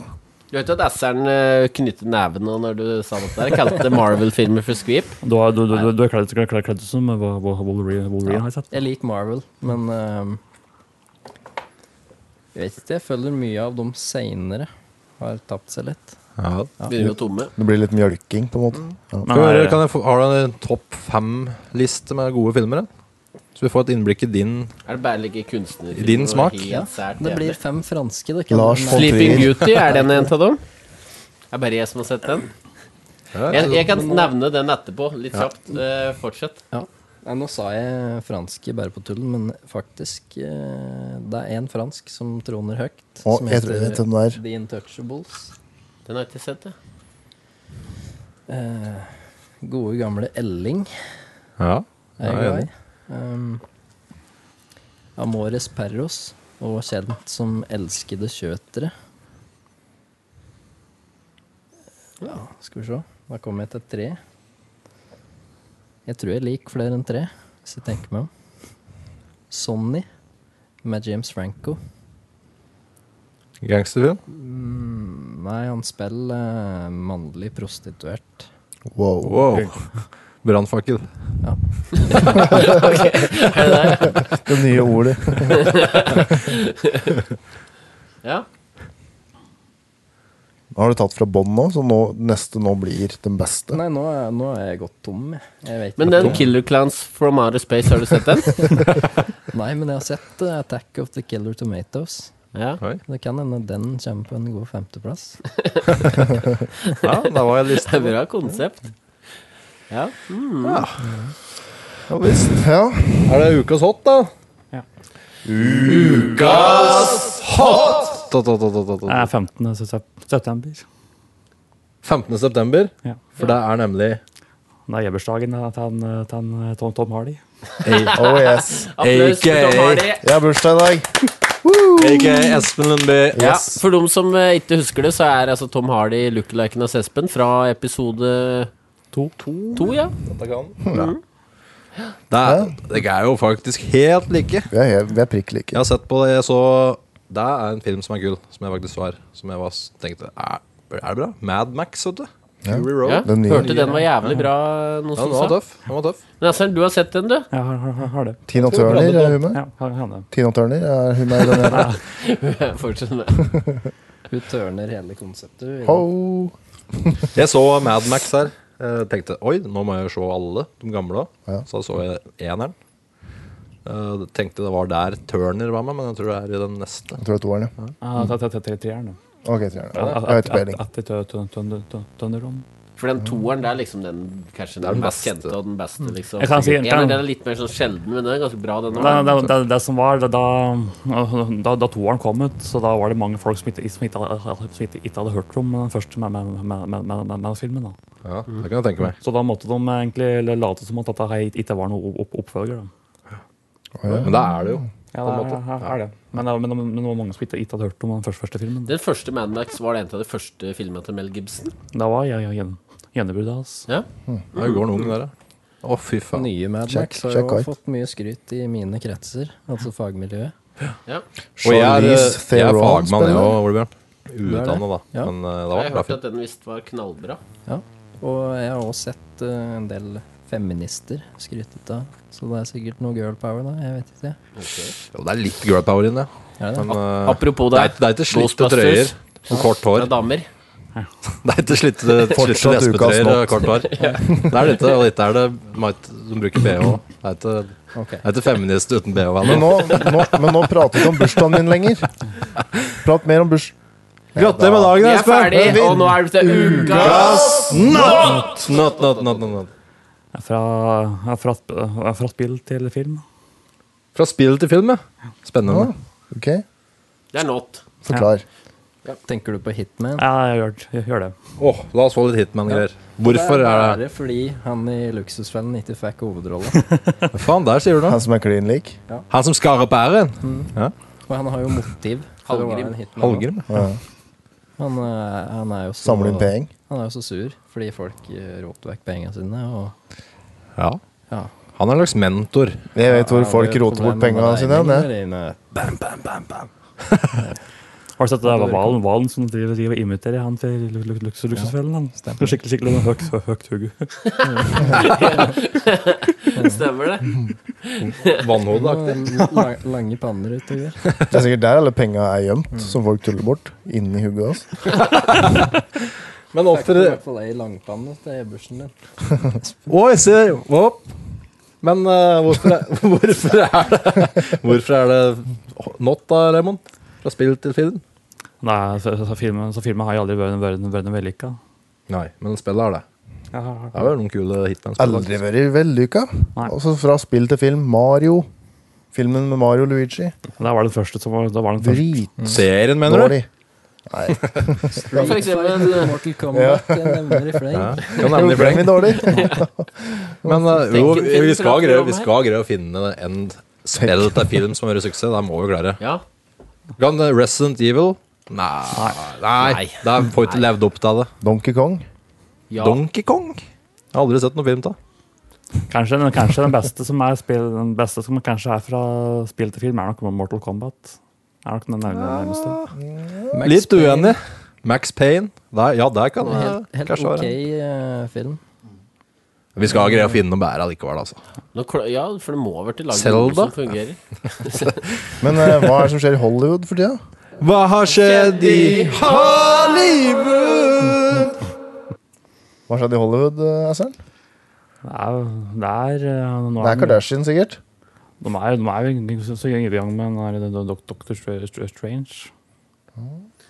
vet at S-eren eh, knyttet neven nå når du sa det der? Kalte Marvel-filmer for skvip?
Du har du, du, du, du er kledd, kledd, kledd, kledd ut som Wo- Wo- Wolverine, Wolverine har jeg sett.
Jeg liker Marvel, men ehm, Jeg vet ikke, jeg føler mye av dem seinere har tapt seg litt.
ja.
Begynner å tomme.
Det blir litt mjølking, på en måte.
Mm.
Nei,
Skal vi høre, kan jeg få, Har du en topp fem-liste med gode filmer? da? Så vi får et innblikk i din
Er det bare like kunstner?
I din smak?
Ja,
Helt sært.
det blir
jævlig.
fem franske, det
Lars von
Sleeping
Trier.
Beauty, er den en av dem? Det er bare jeg som har sett den. Jeg, jeg kan nevne den etterpå, litt kjapt. Eh, fortsett.
Ja. Nei, nå sa jeg franske bare på tull, men faktisk eh, Det er én fransk som troner høyt.
Å,
som
jeg tror jeg vet hvem det er.
The Intouchables.
Den har jeg ikke sett, jeg.
Eh, gode, gamle Elling
Ja.
er jeg
Ja,
glad i. Um, Amores Perros, og kjent som Elskede kjøtere. Ja, skal vi se. Da kommer jeg til tre. Jeg tror jeg liker flere enn tre, hvis jeg tenker meg om. Sonny med James Franco.
Gangsterfilm?
Nei, han spiller eh, mannlig prostituert.
Wow.
Wow. Brannfakkel.
Det nye ordet.
Ja.
Nå har du tatt fra bånn nå, så nå, neste nå blir den beste.
Nei, nå er, nå er jeg gått tom. jeg. Jeg vet
Men
ikke.
den Killer Clans from Outer Space, har du sett den?
Nei, men jeg har sett eh, Attack of the Killer Tomatoes.
Ja.
Det kan hende den kommer på en god femteplass.
Ja, da var jeg
Det er
lista.
bra konsept. Ja.
Ja visst. Ja.
Er det ukas hot, da?
Ja.
Ukas hot!
Nei, 15. sep- september.
15. september,
Ja.
for det er nemlig
Det er jebbursdagen til han, eh, til han, eh, Tom, Tom Hardy.
Oh yes.
Applaus for Tom Hardy.
Jeg har bursdag i dag.
Aka Espen Lundby.
Ja, for dem som eh, ikke husker det, så er altså Tom Hardy lookaliken av Espen fra episode
To.
to, ja.
Det er, det er jo faktisk helt like.
Vi er, helt- vi er prikk like.
Jeg har sett på det, jeg så Det er en film som er kul, som jeg faktisk så her. Som jeg var, tenkte er, er det bra? Mad Max, vet du. Fury Road.
ja.
Ja.
Den nye.
Hørte den var jævlig bra, noen
den
som
var
sa.
tøff. Den var tøff.
Men Aslan, du har sett den, du?
Ja, har, har, har- har det.
Tina Turner er hun med.
Ja, har, har det.
Tina Turner er hun med i den her.
Fortsett med
Hun tørner hele konseptet. hun.
Ho.
Jeg så Mad Max her. Jeg tenkte oi, nå må jeg jo se alle de gamle. da
Ja.
Så så jeg eneren. Eh, tenkte det var der Turner var med, men jeg tror det er i den neste.
Jeg tror det er toeren, ja.
Ja, det er- det er- det er treeren, da.
Ok, treeren.
Ja,
Jeg har ikke peiling.
Etter Tønderom.
For den toeren, det er liksom den kanskje den,
den
mest
beste.
kjente og den beste,
Mm.
liksom.
Jeg kan si en
Eneren,
ting.
den er litt mer sånn sjelden, men den er ganske bra, den
Det, det,
også.
det, det som var da, da, da toeren kom ut, så da var det mange folk som ikke, som ikke, hadde, som ikke, ikke hadde hørt om den første med, med, med, med, med, med, med filmen. Da.
Ja,
Mm.
det kan jeg tenke meg.
Så da måtte de egentlig late som at dette her ikke var noen opp, oppfølger. Da.
Men det er det jo.
Ja,
på en
det
måte.
er, er det. Men, det- men, det- men det var mange som ikke, ikke hadde hørt om den første, første filmen.
Den første Mad Max var det en av de første filmene til Mel Gibson.
Da var jeg, jeg, gjen- gjennombruddet hans.
Ja.
Ja, det går noen der, ja. Å, fy faen.
Nye Mad
Check,
Max har
check
jo
out.
fått mye skryt i mine kretser, altså fagmiljøet.
Og jeg er, eh,
Charlize
jeg er
Theron
fagmann, jeg
spiller.
òg, Olebjørn.
Du er det?
Uutdanna, da.
Ja.
Men eh, det var
Jeg
bra
hørte
film.
at den visst var knallbra.
Ja. Og jeg har også sett eh, en del feminister skrytet av, så det er sikkert noe girl power da, jeg vet ikke.
Jo, det er litt girl power inni det.
Er det?
Men, eh,
Apropos det,
Det er, det er ikke slitte
Ghostbusters.
trøyer og kort hår.
Fra damer.
Det er ikke slitte, slitte
Fortsatt ukas
lesbetrøyer og
not.
kort hår. Det er dette, og dette er det Mait som bruker BH. Det er ikke,
Ok.
det er ikke feminist uten BH. venner.
Men nå, nå, men nå prater vi ikke om bursdagen min lenger. Prat mer om burs...
Gratulerer med
Vi
dagen,
er ferdig, og nå er det til uka!
Not! Not, not, not, not, not.
Fra, fra, fra spill til film.
Fra spill til film, ja. Spennende.
Ok,
Det er not.
forklar.
Tenker du på Hitman?
Ja, jeg gjør, det. jeg gjør det.
Åh, la oss få litt Hitman-greier. Hvorfor
det?
er
Bare fordi han i Luksusfellen ikke fikk hovedrolla.
det Faen, der sier du noe.
Han som er klin lik.
Han som skar opp æren.
Og han har jo motiv for å være
Hallgrim.
en hitman.
Hallgrim.
Ja.
Han, eh, han er jo så,
Samle inn penger.
Han er jo så sur fordi folk eh, råter vekk pengene sine. Og
Ja.
ja.
Han er en slags mentor.
Jeg vet hvor
Han har
folk
jo
roter bort
problemer
pengene
med
sine.
regninger
Det.
dine.
Har du sett det der hvalen, hvalen som driver, driver og imiterer han til lu- lu- luks- luksusfellen? Han
stemmer.
Skikkelig, skikkelig høyt, høyt hugge.
Stemmer det?
Vannhodeaktig.
Han har la- lange panner utover.
det er sikkert der alle pengene er gjemt, som folk tuller bort. Inni hugget hans.
Men
Fikk du i
oftere
hvert fall ei langpanne til børsen din.
Å, jeg ser Opp. Men eh, hvorfor, er, hvorfor er det Hvorfor er det not, da, Raymond? Fra spill til film?
Nei, så, så, filmen, så filmen har jeg aldri vært, vært, vært noe vellykka.
Nei, men spillet er det. Det er vel noen kule hitman-spill.
Aldri vært vellykka.
Nei.
Altså fra spill til film. Mario. Filmen med Mario og Luigi.
Da var det første som var, da var den første.
Dritdårlig.
Serien, mener du?
For eksempel eh,
Mortal Kombat, jeg nevner i fleng.
Ja, kan
Jo,
nevne i fleng.
den er dårlig.
Men eh, jo,
Tenken
vi
finnes
skal
rett
greie,
fram
vi
her.
skal greie å finne en spill til film som gjør suksess. Det må vi klare.
Ja.
Kan eh, Resident Evil? Nei. Nei. Det er- får ikke levd opp til det.
Donkey Kong.
ja.
Donkey Kong? Jeg har aldri sett noen film av.
Kanskje, den- kanskje den beste som er spill, den beste som kanskje er fra spill til film, er nok Mortal Kombat. Er nok den nærm- nærmeste.
Max
Litt
Payne.
uenig. Max Payne. Der, ja, der kan det
Helt, helt
kanskje
ok
være.
eh, film.
Vi skal greie å finne noe bedre allikevel, altså.
Nå kl- ja, for det må ha vært i laget
Zelda?
noe som fungerer.
Men eh, hva er det som skjer i Hollywood for tida?
Hva har skjedd i Hollywood?
Hva skjedde i Hollywood, eh, Assern?
Det er, det er, eh, nå
Det er
er de,
Kardashian, sikkert.
de er, de er jo ikke så- så i gang med den der Doctor Strange.
Jeg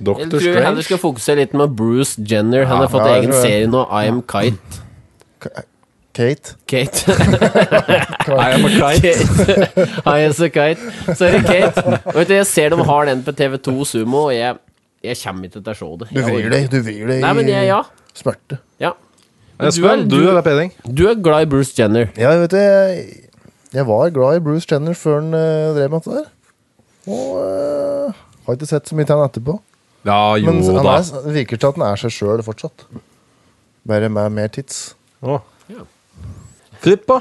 Doctor
tror jeg heller skal
Strange.
fokusere litt med Bruce Jenner. Han
Ja,
har fått
ja, jeg
egen
tror jeg-
serie nå, I Am Kite.
Kate.
Kate.
I am a kite.
Kate. High as a kite. Sorry, Kate. Vet du, jeg ser de har den på TV2 Sumo, og jeg, jeg kommer ikke til å se det.
Du vrir deg du vrir deg
Nei, men jeg, ja.
i smerte.
ja.
Espen,
Du
du
er-
er peding.
Du er glad i Bruce Jenner.
Ja, vet du, jeg, jeg var glad i Bruce Jenner før han eh, drev med dette der. Og eh, har ikke sett så mye til han etterpå.
Ja, jo
Men han
da.
er, det virker til at han er seg sjøl fortsatt. Bare med mer tids.
Å.
Ja.
Flipp, da.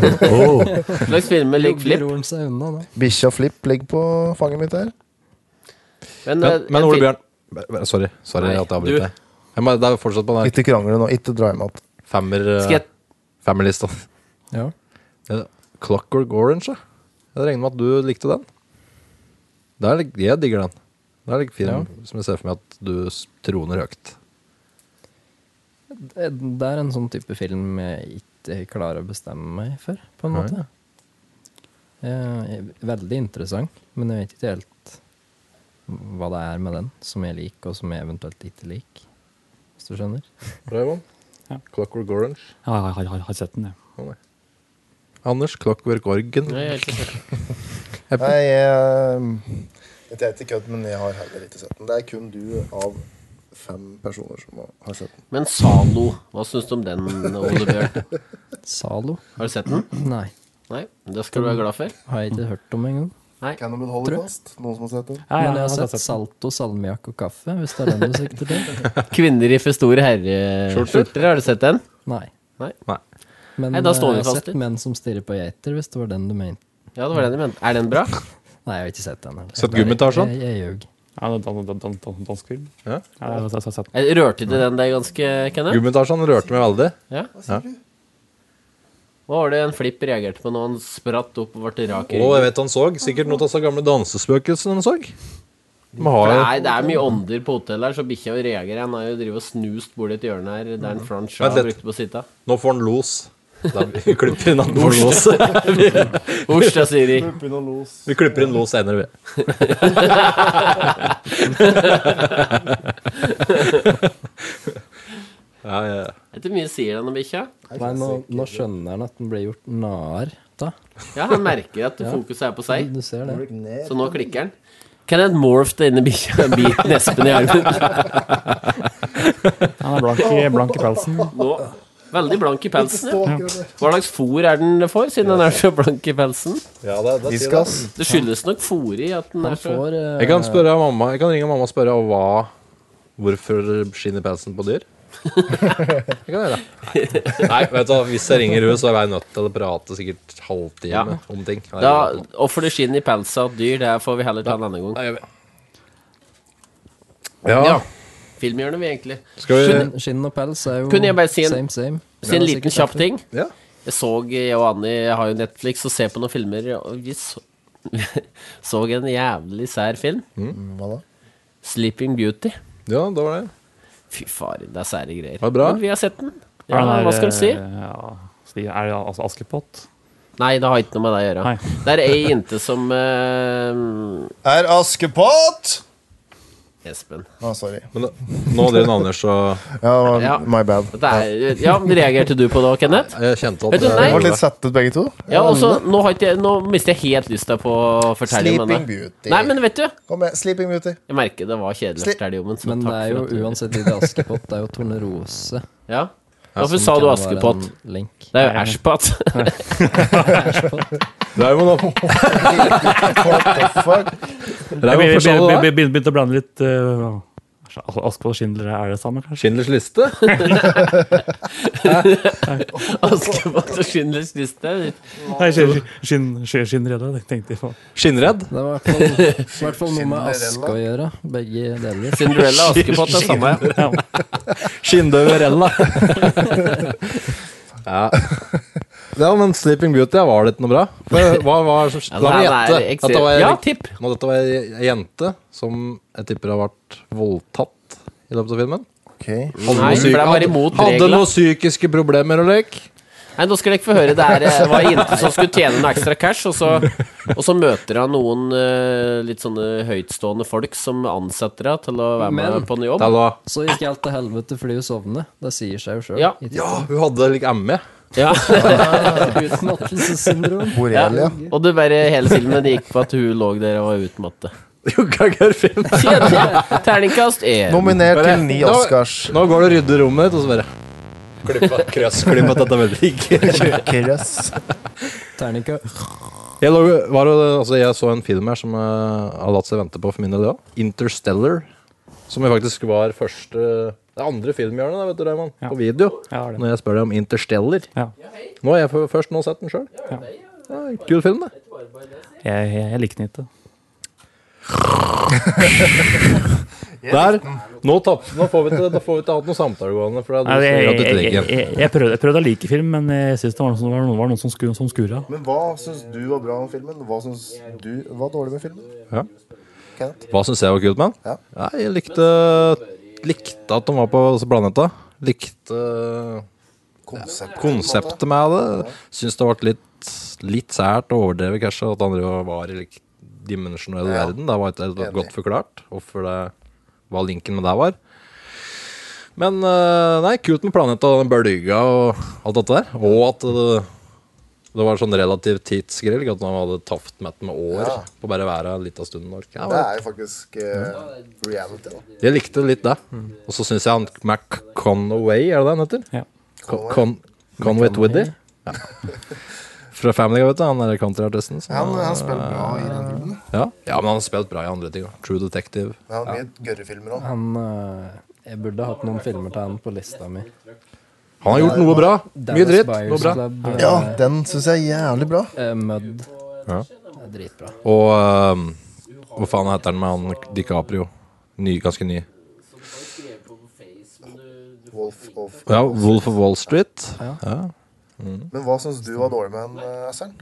Hva slags filmer ligger Flip?
Roer han seg unna nå?
Bikkja Flipp ligger på fanget mitt her.
Men, eh,
Men, men
en
Ole
film-
Bjørn Bare- Sorry, sorry
Nei,
at jeg
du-
avbryter deg. Jeg må- Det er fortsatt på den her
Ikke krangle nå, ikke dra hjem igjen.
femmer, eh,
Skal jeg,
femmerlista.
Ja.
Ja, Clockwork Orange, ja. Jeg regner med at du likte den. Der, lig- jeg digger den. Det er like fin som jeg ser for meg at du s- troner høyt.
Det det er en sånn type film jeg ikke klarer å bestemme meg for, på en
Nei.
måte. Eh, veldig interessant, men jeg vet ikke helt hva det er med den som jeg liker, og som jeg eventuelt ikke liker. hvis du skjønner.
Raymond? Clockwork Orange?
Ja, jeg har, har, har sett den, jeg.
Å, nei. Anders Clockwork Orgen.
Nei, jeg har ikke sett
Epp-
Nei, jeg, dette er ikke kødd, men jeg har heller ikke sett den. Det er kun du av fem personer som har- har sett den.
Men Zalo, hva syns du om den, Ole Bjørn?
Zalo?
Har du sett den?
Nei.
Nei, Det skal du være glad for.
Har jeg ikke hørt om engang.
Nei.
Cannibal Holocaust? Noen som har sett den?
Men jeg har sett Salto, salmiakk og kaffe, hvis det er den du sikter til.
Kvinner i for store herreskjorter, har du sett den?
Nei.
Nei.
Men
Nei, da står vi
eh, jeg har
fast
sett
litt.
menn som stirrer på geiter, hvis det var den du mente.
Ja, det var den jeg mente. Er den bra?
Nei, jeg har ikke sett den. heller.
Sett
Jeg bare-
Gummitarsan?
Jeg, jeg ljug.
Ja, dan- dan- dan- dan- dan- dansk film.
Ja.
Ja, jeg har- jeg har sett den.
Jeg rørte til den der ganske, Kenneth?
Gummitasjen rørte meg veldig.
Ja.
Ja.
Hva var det en flipp reagerte på når han spratt opp og ble rak i
Og jeg
ryggen?
vet han så. Sikkert noen av disse gamle dansespøkelsene han så. De
For
har
det
jo
er, det er mye ånder på hotellet her, så bikkja reagerer. Han har jo drevet og snust borti et hjørne her der en Franch
Mhm. Vent litt.
brukte på å sitte.
Nå får han los. Da vi klipper inn han får los.
Ost, da, Siri.
Vi klipper inn los senere, vi. Ja, ja.
Vet du hvor mye sier den om bikkja?
Nei, nå, nå skjønner han at den blir gjort nar av.
Ja, han merker at
Ja.
fokuset er på seg,
Du ser det.
så nå klikker han. Kenneth morphed inn i bikkja og bit nespen i armen.
Han er blank i, blank i pelsen.
Nå, veldig blank i pelsen. Ja. Hva slags fôr er den for, siden den er så blank i pelsen?
Ja, det, det sier det.
Diskas.
Det skyldes nok fôret i at den
Han
er så
får eh,
Jeg kan spørre mamma Jeg kan ringe mamma og spørre hva Hvorfor skinner pelsen på dyr? Jeg kan gjøre det. Nei, Nei, vet du, hva, hvis jeg ringer henne, så er jeg nødt til å prate sikkert halvtime
Ja.
om ting. Nei,
Da,
jeg vet
Hvorfor det skinner i pelsen av dyr, det får vi heller ta en annen gang.
ikke. ja.
Filmhjørnet, vi, egentlig.
Skal vi
skinn- Skinn og pels er jo
Kunne jeg bare si en-
same, same.
Si en liten kjapp ting.
Ja.
Jeg så, jeg og Anni har jo Netflix og ser på noen filmer, og vi så, så en jævlig sær film.
Mm, Hva da?
'Sleeping Beauty'.
ja, da var det.
Fy faren, det er sære greier.
Var det bra?
Men vi har sett den.
Er
Ja,
den der,
hva skal du si?
eh, Ja, si- er det altså Askepott?
Nei, det har ikke noe med det å gjøre.
Nei.
Det er ei jente som eh,
Er Askepott?
Espen.
Å, sorry.
Men da, nå drev Anders og
Ja,
Ja.
my bad.
Dette er, ja, reagerte du på det, Kenneth?
Jeg kjente
Vet
at
du,
Vi
nei.
ble litt satt ut begge to.
Ja, og så nå, har ikke jeg- nå mister jeg helt lysta på å fortelle om
Sleeping
henne.
Beauty.
Nei, men vet du,
Kom igjen. Sleeping Beauty.
jeg merker det var kjedelig å
Sli-
fortelle om den. så
Men det
takk
er
for
jo
at du-
uansett i Askepott, det er jo Tornerose.
Ja. Hvorfor
som
sa du
kan være
Askepott?
en Link.
Det er jo Ashpat.
Raymond opp.
What the fuck?
Jeg
Raymond,
begynte,
forstår du sånn det?
begynte, begynte å blande litt uh, Askepott og Schindler, er det samme, kanskje?
Schindlers liste?
Askepott og Schindlers liste.
Nei, Schindler, Schindler, Schindler ja, det tenkte jeg på.
Skinnredd?
Det var i hvert fall- i hvert fall noe med aske å gjøre, begge deler.
Cinderella og Askepott altså. er samme.
Skinndøverella. ja. ja, men Sleeping Beauty var det ikke noe bra. For Hva var det som- La meg
Ja,
gjette.
det er
Dette var,
Ja, tipp.
nå, dette var ei jente som jeg tipper har vært voldtatt i løpet av filmen.
Ok.
Hadde
Nei,
noe
for det
syk-
var
hadde-
imot
Hadde
reglene.
noen psykiske problemer og lek.
Nei, nå skal dere ikke få høre. Det er, eh, var en jente som skulle tjene noe ekstra cash, og så, og så møter han noen eh, litt sånne høytstående folk som ansetter henne til å være med
Men-
på en jobb.
Det var-
Så gikk alt til helvete fordi hun sovnet. Det sier seg jo sjøl.
Ja.
Ja, hun hadde E. like ME.
Ja.
Utmattelsessyndrom.
Borrelia.
Og det bare hele filmen gikk på at hun lå der og var utmattet.
Jo, hva gjør film?
Kjedelig. Terningkast én.
Nominert til ni
Nå-
Oscars.
Nå går du og rydder rommet ditt, og så bare Klippa krøss, klippa dette veldig
Krøss.
Terninga.
Jeg, lå, var det, altså, jeg så en film her som jeg har latt seg vente på for min del òg. 'Interstellar'. Som jo faktisk var første Det er andre filmhjørnet da, vet du, Raymond, på video.
Ja, det er det.
Når jeg spør deg om 'Interstellar'.
Ja.
Nå har jeg for- først nå sett den sjøl.
Ja.
Ja, kul film, det.
Jeg, jeg, jeg liker den ikke.
Der. Nå, tapp, nå får vi ikke da får vi ikke hatt noe samtalegående. For det
Nei,
er du
jeg,
sier at
jeg,
du
jeg,
trenger den.
jeg, jeg, prøvde, jeg prøvde å like film, men jeg synes det var noen som, var noen, var noen som, skur, som skurra.
Men hva syns du var bra om filmen? Hva syns du var dårlig med filmen?
Hva syns jeg var kult med den?
Ja.
Nei, Jeg likte, likte at de var på disse planeta. Likte
Konsept.
konseptet med det. Syns det ble litt, litt sært og overdrevet, kanskje, at han drev og var i lik- dimensjonell
Ja.
verden. Det var ikke helt
Enig.
godt forklart hvorfor det hva linken med det var. Men eh, nei, kult med planeta og den bølga og alt dette der. Og at det, det var sånn relativt tidsgrillig, at man hadde tapt mett med år
Ja.
på bare været en liten stund. Norge. Ja,
Det er jo faktisk eh, reality, da.
Jeg likte litt det. Og så syns jeg han Mac Conaway, er det det han heter? Con Con Conway Twiddy. Ja. Fra Family Guy, vet du. Han er countryartisten. som-
Han- han spiller bra i den filmen.
Ja. ja, men han har spilt bra i andre ting. også. True Detective.
Det er mye gørrefilmer òg.
Han eh, Jeg burde hatt noen filmer til han på lista mi.
Han har gjort noe bra. Mye
Dallas
dritt.
Buyers
Noe bra.
Club, eh,
Ja, den syns jeg er jævlig bra.
eh, Mud.
Ja.
Det er dritbra.
Og ehm, hva faen heter han med han DiCaprio? Ny, ganske ny.
Wolf of
Ja, Wolf of Wall Street. Ja.
Men hva syns du var dårlig med den, eh, Øystein?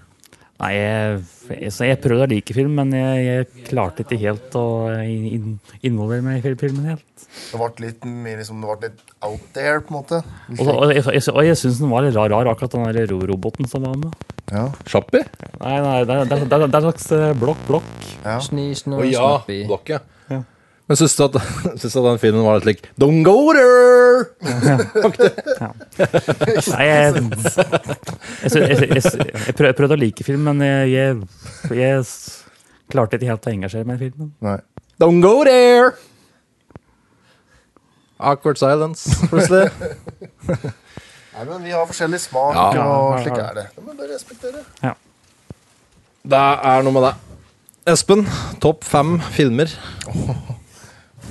Nei, jeg, jeg, så jeg prøvde å like film, men jeg, jeg klarte ikke helt å inn, inn- involvere meg i fil- filmen helt.
Det ble litt mer liksom, det ble litt out there, på en måte.
Og, så- og jeg, jeg, og jeg syns den var litt rar, rar akkurat den der ro- roboten som var med.
Ja.
Sjappi?
Nei, nei, det er, det er, det er, det er en slags eh, blokk, blokk.
Sni, snu,
Å ja,
snappi.
blokket. Men syns du, at, syns du at den filmen var litt lik Don't go there!
Nei, jeg, jeg, sy- jeg, sy- jeg, sy- jeg, prøv, jeg prøvde å like film, men jeg, jeg, jeg s- klarte ikke helt å engasjere meg i filmen.
Nei.
Don't go there! Awkward silence, plutselig.
Nei, men vi har forskjellig smak,
Ja.
og
Ja, ja,
slik
ja.
er det. Det må du respektere.
det er noe med det. Espen, topp fem filmer.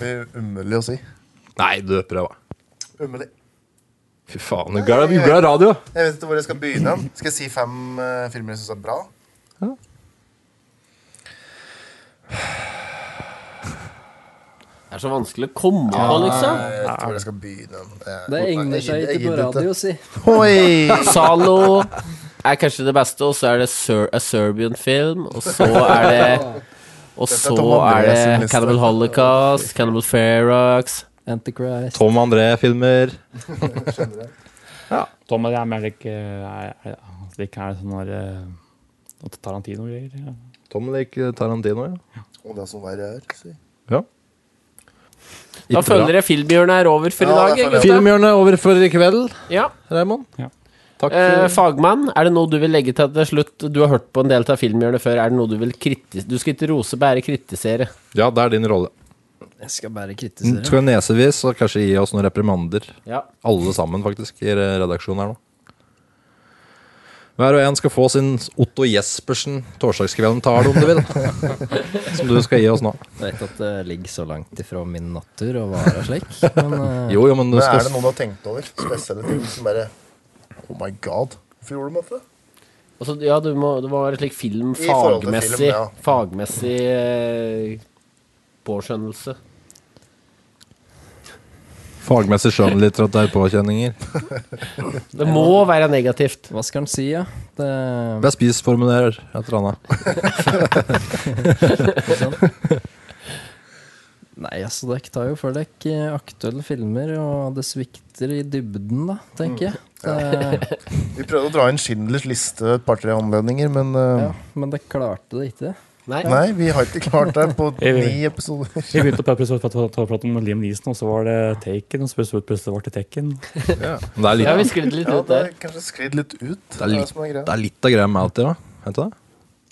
Det blir umulig å si.
Nei, du prøv, da.
Umulig.
Fy faen, du gleder deg i radio.
Jeg vet ikke hvor jeg skal begynne. Skal jeg si fem eh, filmer jeg syns er bra?
Det er så vanskelig å komme på, liksom.
Jeg vet ikke hvor jeg skal begynne. Eh,
Det egner seg
jeg
ikke på
gidder ikke.
radio, si.
Oi!
Zalo er kanskje det beste, og så er det Ser A Serbian Film, og så er det Og
Dette er
så
Tom
er
Andreas sin
det
liste.
Cannibal Holocaust, Cannibal Ferox
Antichrist.
Tom André-filmer.
Tom og jeg er mer like, er, er, altså, det ikke er sånn der, eh, Tarantino-greier. Ja.
Tom liker Tarantino, ja.
Og det som verre er. Si.
Da føler jeg filmhjørnet er over for i
Ja,
dag.
det er
jeg, gutta.
Filmhjørnet over for i kveld,
Ja.
Raymond.
Ja.
Takk.
Eh,
for-
fagmann, er det noe du vil legge til til slutt? Du har hørt på en del av filmhjørnet før. Er det noe du vil kritisere? Du skal ikke rose, bare kritisere.
ja, det er din rolle.
Jeg skal bare
Du
kritisere.
skal nesevis og kanskje gi oss noen reprimander.
Ja.
Alle sammen, faktisk, i redaksjonen her nå. Hver og en skal få sin Otto Jespersen torsdagskvelden-tale, om du vil. Som du skal gi oss nå.
Jeg vet at det ligger så langt ifra min natur å være slik, men eh,
Jo, jo, men du
Men er
skal
det noe du har tenkt over? Spesielle ting som bare Oh my god. Hvorfor gjorde de dette?
Altså, ja, du må, det må være slik film
I forhold til
fagmessig,
film, ja.
fagmessig eh, påskjønnelse.
Fagmessig skjønnlitteraturer-påkjenninger.
Det må være negativt.
hva skal en si, ja? Det,
Jeg spisformulerer et eller annet.
nei, altså, dere tar jo for dere aktuelle filmer, og det svikter i dybden, da, tenker jeg. Det,
Vi prøvde å dra inn Schindlers liste et par-tre anledninger, men eh,
ja, men dere klarte det ikke.
Nei.
Nei, vi har ikke klart det på ni episoder.
Vi begynte å prate- prate prate- prate- prate om Liam Neeson, og så var det Taken, og så plutselig plutselig var det Taken.
Men det er
Ja, vi
litt,
sklidde litt
Ja,
ut
det
der.
er kanskje sklidd litt ut. Det
er
er
litt-
det som er
det
greia.
er litt av greia med alt det, da. Vet du det?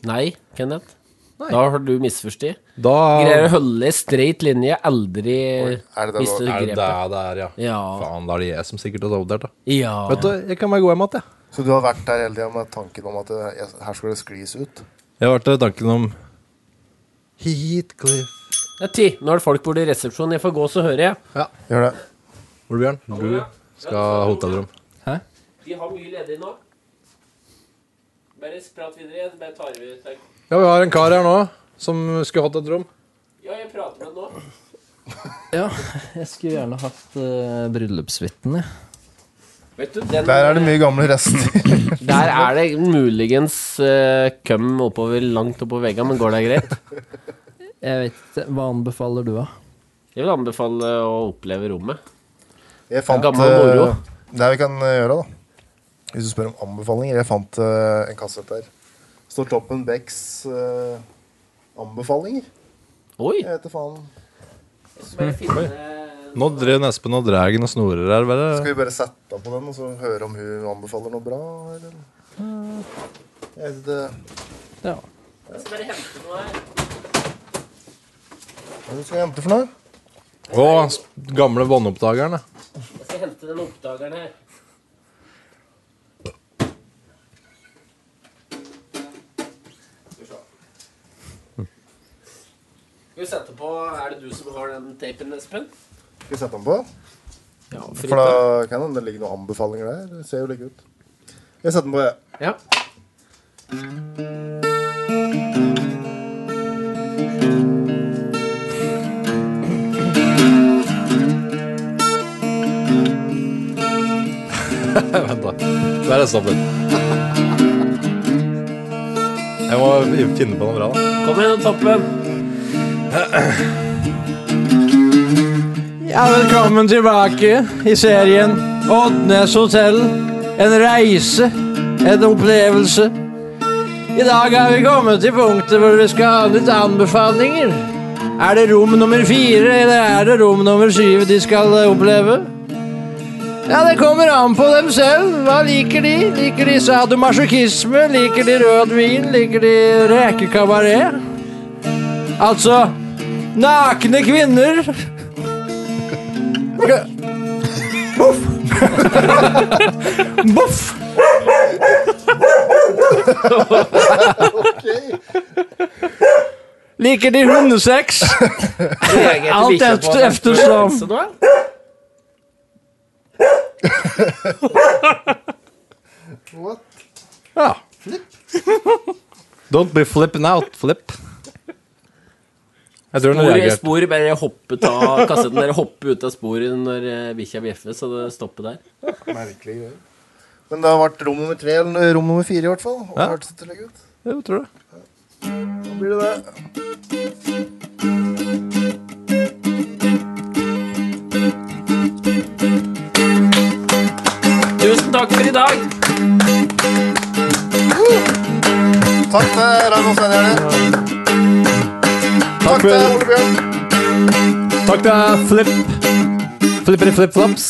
Nei, Kenneth. Da har du misforstått.
Da
Greier å
er
holde ei streit linje, aldri
Er det det
mister
da-
det
grepet.
der det er, ja.
Ja.
Faen, da er det jeg som sikkert har sovet der, da.
ja.
Vet du, jeg kan bare gå hjem igjen, jeg.
Så du har vært der hele tida med tanken om at eh, jeg- her skal det sklis ut?
Jeg har vært i tanken om Heatcliff.
Det er ti. Nå er det folk borte i resepsjonen. Jeg får gå, så hører jeg.
Gjør det.
Ole Bjørn, du skal ha hotellrom.
Vi har mye ledig nå. Bare prat videre. Bare tar vi
Ja, vi har en kar her nå som skulle hatt et rom.
Ja, jeg prater med ham nå.
Ja, jeg skulle gjerne hatt uh, bryllupsvitten, jeg.
Vet du, den,
Der er det mye gamle rester.
der er det muligens uh, køm oppover, langt oppover veggene, men går det greit?
Jeg vet ikke, hva anbefaler du, da?
Jeg vil anbefale å oppleve rommet.
Jeg fant
Gammel
eh,
moro.
Det vi kan eh, gjøre, da. Hvis du spør om anbefalinger. Jeg fant eh, en kassett der. Står Toppen Becks eh, anbefalinger.
Oi!
Jeg vet da faen.
Bare finne
Nå drev Espen og drar og snorer her. Bare.
Skal vi bare sette av på den og så høre om hun anbefaler noe bra? Eller? Jeg vet ikke.
Ja.
Hva er det du skal hente for noe?
Å, s- gamle båndoppdageren. da.
Jeg skal hente den oppdageren her. Skal vi sette på Er det du som har den tapen, Espen?
Skal vi sette den på?
Ja,
for da kan det ligge noen anbefalinger der. Det ser jo like ut. Jeg setter den på, jeg.
Ja.
Vent, da. Der er det stopp litt. Jeg må finne på noe bra, da.
Kom igjen, Toppen.
Ja, velkommen tilbake i serien Oddnes hotell. En reise, en opplevelse. I dag har vi kommet til punktet hvor vi skal ha litt anbefalinger. Er det rom nummer fire, eller er det rom nummer syv de skal eh, oppleve? Ja, det kommer an på dem selv. Hva liker de? Liker de sadomasochisme? Liker de rød vin? Liker de rekekabaret? Altså nakne kvinner. Boff! Boff! Liker de hundesex? Alt efter, eftersom.
What?
Ja.
Don't be flipping out, flip. Jeg tror den
Sporet
reagerte.
spor bare hoppet av kassetten. Dere hoppet ut av sporet når eh, bikkja bjeffet, så det stoppet der.
Merkelig greier. Men det har vært rom nummer tre eller rom nummer fire i hvert fall. Og
Ja.
hørtes det legge ut.
Jeg tror det.
Da blir det det.
Tusen takk for i dag!
Takk til Ragnhild Svenjerne. Takk til Ole Bjørn.
Takk til Flip. Flipper i flipflops.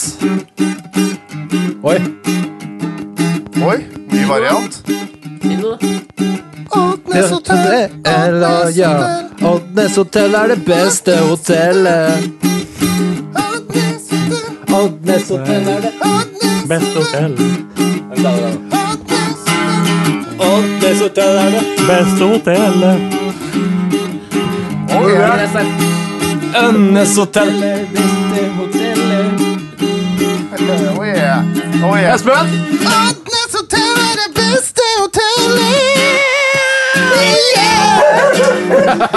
Oi.
Oi, ny variant.
Oddnes hotell, ja. Oddnes hotell er det beste hotellet. Oddnes hotell er det
Best hotell.
Oddnes hotell er det
Best hotell.
Ønnes hotell.
Oh yeah. Oh yeah.
Espen?
Oddnes hotell er det beste hotellet.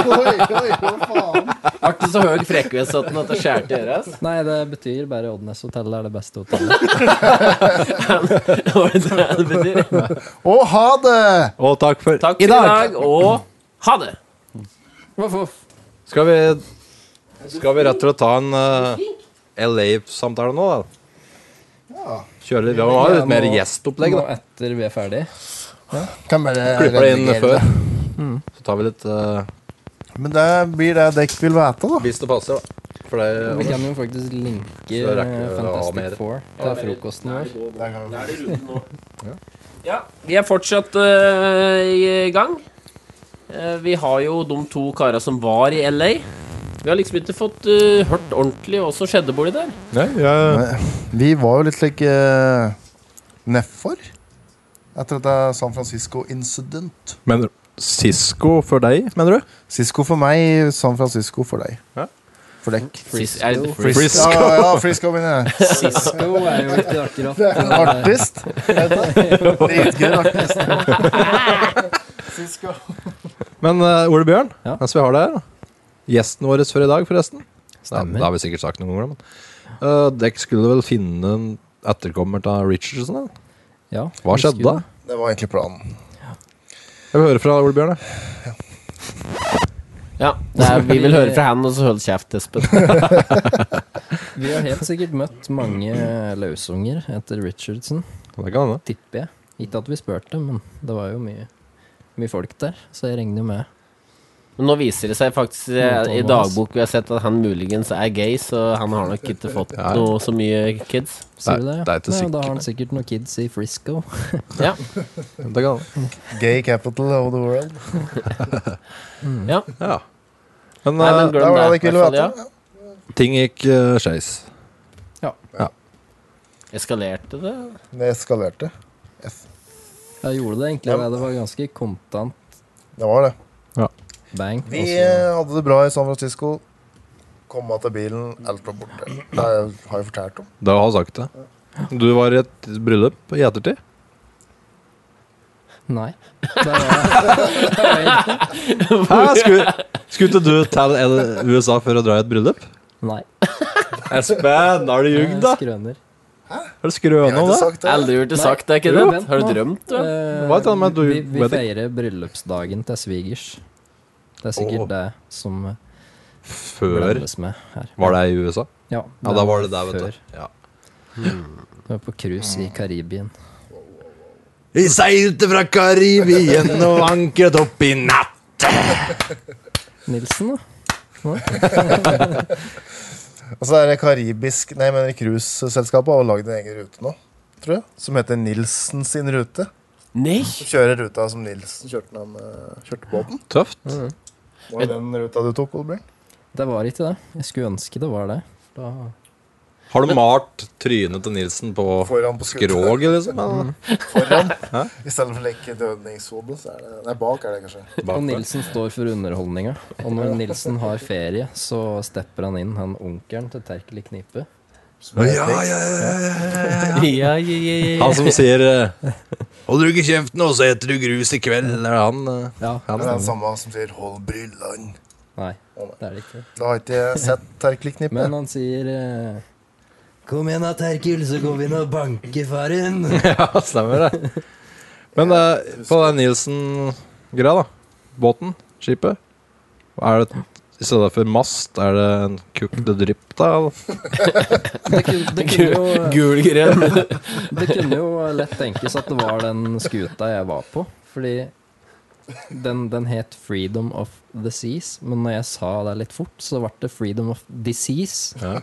Oi, oi, hva faen?
Artig så høy frekkvest at den at det skjærer til øret. ass.
Nei, det betyr bare Oddnes hotell er det beste hotellet.
Var det det det betyr?
Og ha det!
Og takk for
Takk for i dag, og ha det!
Skal vi Skal vi rett og slett ta en eh, LA-samtale nå, da? Kjøre litt Vi må ha litt mer gjestopplegg,
Nå
da.
etter vi er ferdig.
Kan bare
Klipper det inn
redigere
før.
det.
Så tar vi litt eh,
Men det blir det dekk vil vete, da.
Hvis det passer, da. For det
Vi kan jo faktisk linke
Så rekker vi
eh,
å ha mer.
Fantastic Four til frokosten vår.
Da er det runden nå. Ja, vi er fortsatt øh, i gang. Eh, vi har jo de to kara som var i LA. Vi har liksom ikke fått øh, hørt ordentlig hva som skjedde borti der.
Nei, jeg
Vi var jo litt like uh, nedfor etter dette San Francisco Incident.
Men Cisco for deg, mener du?
Cisco for meg, San Francisco for deg.
Ja.
For dekk.
Sis- er det
Frisco.
Frisco?
Ja, ja, Frisco mener jeg.
Cisco er jo ikke akkurat
Det er en artist. Dritgøy artist. Cisco.
Men eh, Ole Bjørn, mens vi har deg her, da. Gjesten vår før i dag, forresten.
Stemmer.
Nei, Det har vi sikkert sagt noen ganger, men eh, Dere skulle vel finne en etterkommer av Richardson? Da?
Ja,
Hva
vi
skjedde da?
skulle-
Det var egentlig planen.
Jeg vil høre fra Ole Bjørn. jeg.
Ja, det er, vi vil høre fra han, og så hold kjeft, Espen.
Vi har helt sikkert møtt mange løsunger etter Richardson,
Det kan hende.
tipper jeg. Ikke at vi spurte, men det var jo mye, mye folk der, så jeg regner jo med.
Men
Men
nå viser det seg faktisk eh, i dagbok vi har sett, at han muligens er gay, så han har nok ikke fått
Ja.
noe så mye kids.
Sier du det? ja? Nei, Da har han sikkert noen kids i Frisco.
Ja.
Gay capital of the world.
ja.
Men,
Nei, men
eh,
glem Det var det det, jeg i ville hvert fall, vite.
Ting gikk uh, skeis.
Ja.
Eskalerte det?
Det eskalerte.
Jeg gjorde det egentlig, det. Det var ganske kontant.
Det var det.
Ja.
Bang.
Vi
og så-
eh, hadde det bra i San Francisco. Komma til bilen, alt var borte. Det har jeg fortalt om.
Det har jeg sagt det. Du var i et bryllup i ettertid.
Nei. Det var
Hæ? Skulle, skulle ikke du til L- USA for å dra i et bryllup?
Nei.
Espen, har du ljugd, da?
Skrøner.
Har du skrøna om det?
Aldri hørt det
Nei.
sagt, det er ikke
Jo.
det? Har du drømt det?
Eh,
Hva er det med at du-
vi, vi
vet ikke?
feirer bryllupsdagen til svigers. Det er sikkert det som eh,
Før
blandes med her.
Var det i USA?
Ja,
ja da var det der, vet
før.
du. Mm. Ja.
Det var på cruise i Karibien.
Vi seilte fra Karibien og ankret opp i natt.
Nilsen, da?
Og så er det karibisk Nei, jeg mener cruiseselskapet har lagd en egen rute nå, tror jeg. Som heter Nilsen sin rute.
Nei.
Som kjører ruta som Nilsen kjørte, når han, eh, kjørte båten.
Tøft.
Var det den ruta du tok, Olbjørn?
Det var ikke det. Jeg skulle ønske det var det. Da
Har du malt trynet til Nilsen på
Foran på skuta.
skroget, liksom? eller?
Foran.
Hæ?
I stedet for å leke dødningshode, så er det Nei, bak er det kanskje.
Og Nilsen står for underholdninga. Og når Nilsen har ferie, så stepper han inn, han onkelen til Terkel i Knipe.
Å, ja, ja,
ja,
ja, ja.
Han som sier eh, 'Hold du ikke kjeften, og så eter du grus i kveld'. Eller han, eh,
Det er den
han.
samme som sier 'hold bryllan'.
Nei, det er det ikke.
Da har ikke jeg sett Terkel-knippet.
Men han sier eh, Kom igjen da, Terkel, så går vi inn og banker faren.
Ja, stemmer det. Men eh, på den Nilsen-greia, da. Båten, skipet. Er det i stedet for mast, er det en cook the drip, da?
Det kunne, det kunne jo
Gulgren.
Det kunne jo lett tenkes at det var den skuta jeg var på. Fordi den, den het 'Freedom of the Seas', men når jeg sa det litt fort, så ble det 'Freedom of Disease'.
Ja.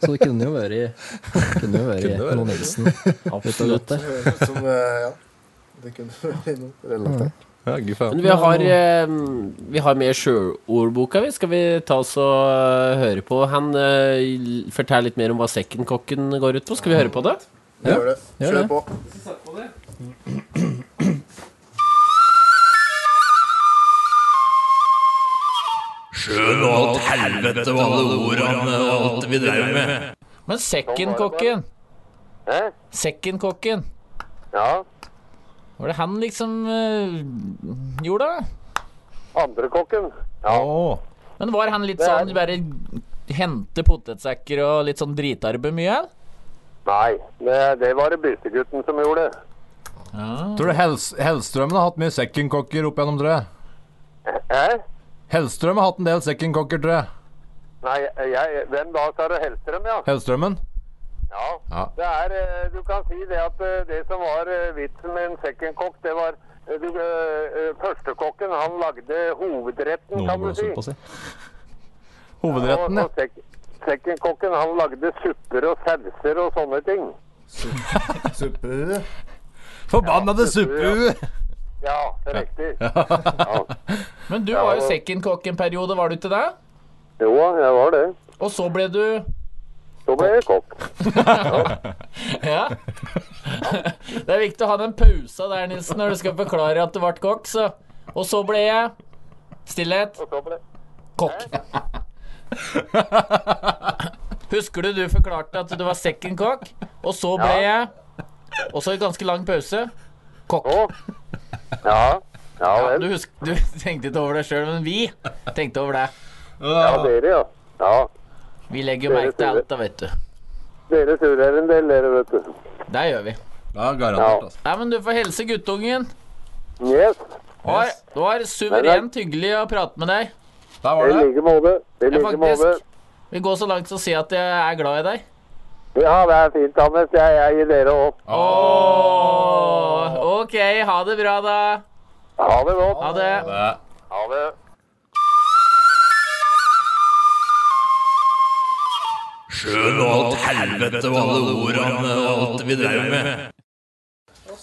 Så det kunne jo vært Kunne jo vært
Kunne være
Noen
det.
Nilsen.
Absolutt.
Vet du godt det?
Som, eh, ja. Det kunne vært noe relativt.
Ja, gud faen.
Men vi har, eh, vi har med sjølordboka, vi. Skal vi ta oss og eh, høre på? Han eh, forteller litt mer om hva Sekkenkokken går ut på. Skal vi høre på det?
Vi gjør det. Kjør på.
Sjøen og alt helvete og alle ordene og alt vi drev med.
Men Sekkenkokken Sekkenkokken
Ja,
Var det han liksom eh, gjorde det?
andre kokken.
Men var han litt sånn bare hente potetsekker og litt sånn dritarbeid mye?
Nei, det, det var det bystegutten som gjorde.
Tror du Hels Hellstrømmen har hatt mye sekkenkokker opp gjennom, tror jeg?
Hæ?
Hellstrøm har hatt en del sekkenkokker, tror jeg.
Nei, jeg, hvem da, sa du? Hellstrøm, ja?
Hellstrømmen?
Ja.
Ja.
Det er, eh, du kan si det at eh, det som var eh, vitsen med en second cock, det var eh, du, eh, eh, Førstekokken, han lagde hovedretten,
Noen
kan du
går
si.
såpass, Hovedretten, ja.
Og, og sek secondkokken, han lagde supper og sauser og sånne ting.
Supper.
Forbannede suppe!
Ja, det er riktig.
Men du
Ja,
var jo
og-
sekkenkokk en periode, var du ikke det?
Jo, jeg var det.
Og så ble du
Så ble jeg kokk.
Ja. Det er viktig å ha den pausa der, Nilsen, når du skal forklare at du ble kokk, så. Og så ble jeg Stillhet. Kokk. Husker du du forklarte at du var second kokk, og så ble jeg Og så en ganske lang pause. Kokk.
Ja. Ja vel.
du, husk, du tenkte ikke over det sjøl, men vi tenkte over det.
Ja, dere, ja. ja.
Vi legger jo merke til alt, da, vet du.
Dere surrer en del, dere, vet du.
Det gjør vi.
Ja,
garantert,
altså. Nei, men du får helse guttungen.
Yes.
Det var, det var suverent hyggelig å prate med deg.
Der
I like måte. I
Jeg
like måte.
faktisk vil gå så langt som å si at jeg er glad i deg.
Ja, det er fint, Anders. Jeg, jeg gir dere opp.
Åh, OK, ha det bra, da.
Ha det godt.
Ha det.
Ha det.
Sjøen og alt helvete og alle ordene og alt vi drev med.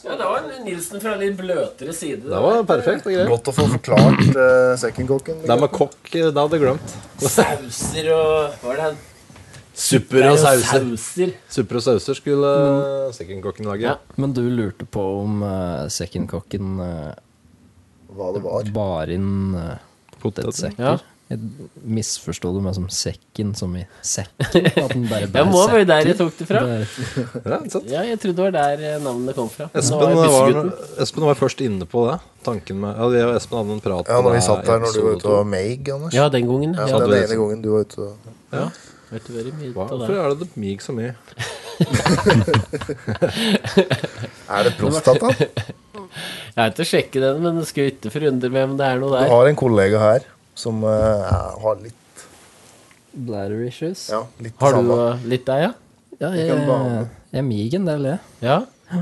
Ja, det var en Nilsen fra en litt bløtere side.
Det var perfekt og greit.
Godt å få forklart uh, secondcocken.
Det med kokk, eh, det hadde jeg glemt.
Sauser og Hva er det han
Supper
Det
og
er jo
sauser.
sauser.
Supper og sauser skulle eh, secondcocken lage.
Men du lurte på om
eh,
uh, secondcocken
Hva det var?
Bar inn eh, potetsekker.
Ja.
Jeg misforsto det med som sekken som i sekken. At den bare
Ja,
bærer
må være der
sekker.
jeg tok det fra.
Bærer-
Ja, jeg trodde det var der eh, navnet kom fra.
Espen
Nå er
var,
Bissegutten.
Espen var først inne på det. Tanken med Ja, jeg og Espen hadde en prat
Ja,
om
når vi
det
satt
i
der når du
episode
var ute og
to.
var meig, Anders.
Ja, den gangen.
Ja,
Ja,
den
du-
ene gangen du var ute og
Ja.
Vet du veldig mye av
Hvorfor
det.
er det det mig så mye?
Er det prostata?
Jeg er ikke å sjekke den, men det skulle ikke forundre meg om det er noe
Du
der.
har en kollega her som eh, er- har litt
Bladder issues.
Ja, litt
Har du eh, litt der, ja?
Ja, jeg,
kan
jeg,
bane.
er mig en del, jeg.
Ja? Ja,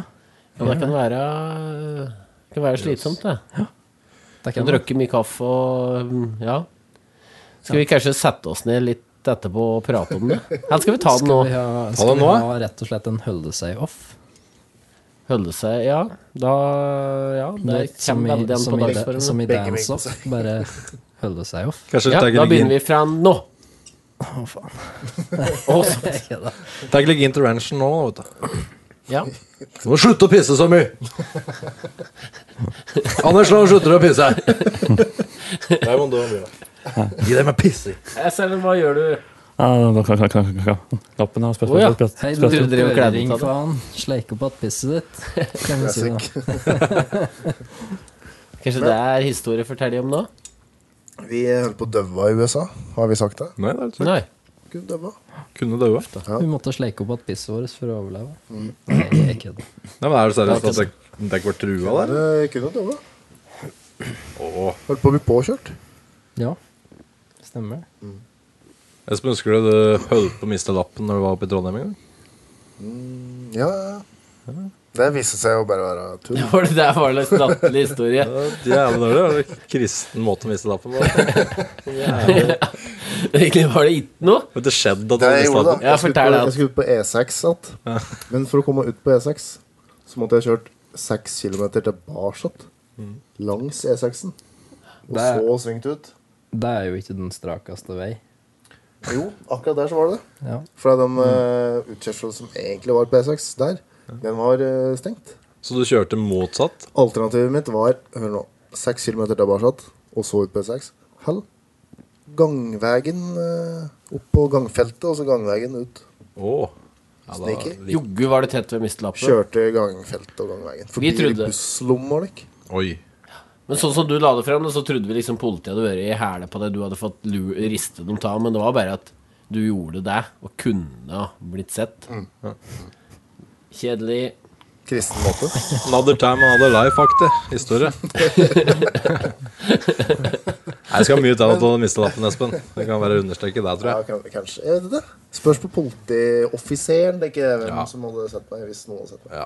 det kan være Det kan være slitsomt, det.
Det
kan
kan det.
Drikke mye kaffe og mm, Ja. Skal vi kanskje sette oss ned litt etterpå og prate om det? Eller skal vi ta den nå?
Skal vi ha, skal vi ha rett og slett en holde seg off?
Holde seg Ja, da Ja, det
Det- som i,
kommer veldig an
som
på
i, da-
dagsformen.
som i Dance Off, bare holde seg off.
Ja, da begynner vi fra nå.
Å, faen.
Å, sant.
Ja da.
Tenk ligge intervention nå, vet du.
Ja.
Du må slutte å pisse så mye! Anders, nå slutter du å pisse! Der må du ha mye. Gi deg med pissing.
Espen, hva gjør du?
Ja, da kan- kan- kan- kan- kan- Lappen er
Å
spesielt.
ja.
spesielt-
Hei, du
spesielt-
driver og
klemmer
klemmer
på det.
faen. Sleik opp att pisset ditt. Kan vi si det.
Kanskje det er historie å fortelle om nå?
Vi holdt på å døve i USA, har vi sagt det?
Nei, det har
Nei.
Kunne døve.
Kunne døve.
Vi måtte sleike opp att pisset vårt for å overleve. Nei, jeg kødder.
Nei, men Er det seriøst at det det ikke var trua der?
Kunne, kunne døve.
Åh.
Holdt på å bli påkjørt.
Ja. Stemmer det.
Espen, husker du du holdt på å miste lappen når du var oppe i Trondheim en gang?
Mm, ja, ja, ja. Det viste seg å bare være tull.
Var det der var en latterlig historie?
Jævlig dårlig. Det var en kristen måte å miste lappen på.
Egentlig var det ikke noe.
Men det skjedde at
Det
du
jeg
mista
gjorde, da.
lappen.
Jeg skulle, ut på, jeg skulle ut på E6, sant? Men for å komme ut på E6, så måtte jeg kjørt 6 km tilbake langs E6-en. Og
Det er-
så svingt ut.
Det er jo ikke den strakeste vei.
Jo, akkurat der så var det det.
Ja.
For den uh, utkjørselen som egentlig var på E6 der, den var eh, stengt.
Så du kjørte motsatt?
Alternativet mitt var hør nå, 6 km tilbake og så ut på E6. Hell. Gangvegen eh, opp på gangfeltet, og så gangvegen ut.
Oh.
Sneaky.
Joggu var det tett ved mistelappen.
Kjørte gangfeltet og gangvegen. Forbi
Vi trodde.
busslomma, lik.
Oi.
Men sånn som du la det frem, så trodde vi liksom politiet hadde vært i hæla på deg. Du hadde fått lu- riste dem ta, men det var bare at du gjorde det, og kunne ha blitt sett. Kjedelig.
Kristen måte.
Another time, another life, aktig historie. Nei, det skal mye til at du hadde mistet lappen, Espen. Det kan være å understreke det, tror
Ja,
jeg.
kan- kanskje. Jeg vet ikke. Spørs på politioffiseren. Det er ikke hvem som hadde sett meg, hvis noen hadde sett meg.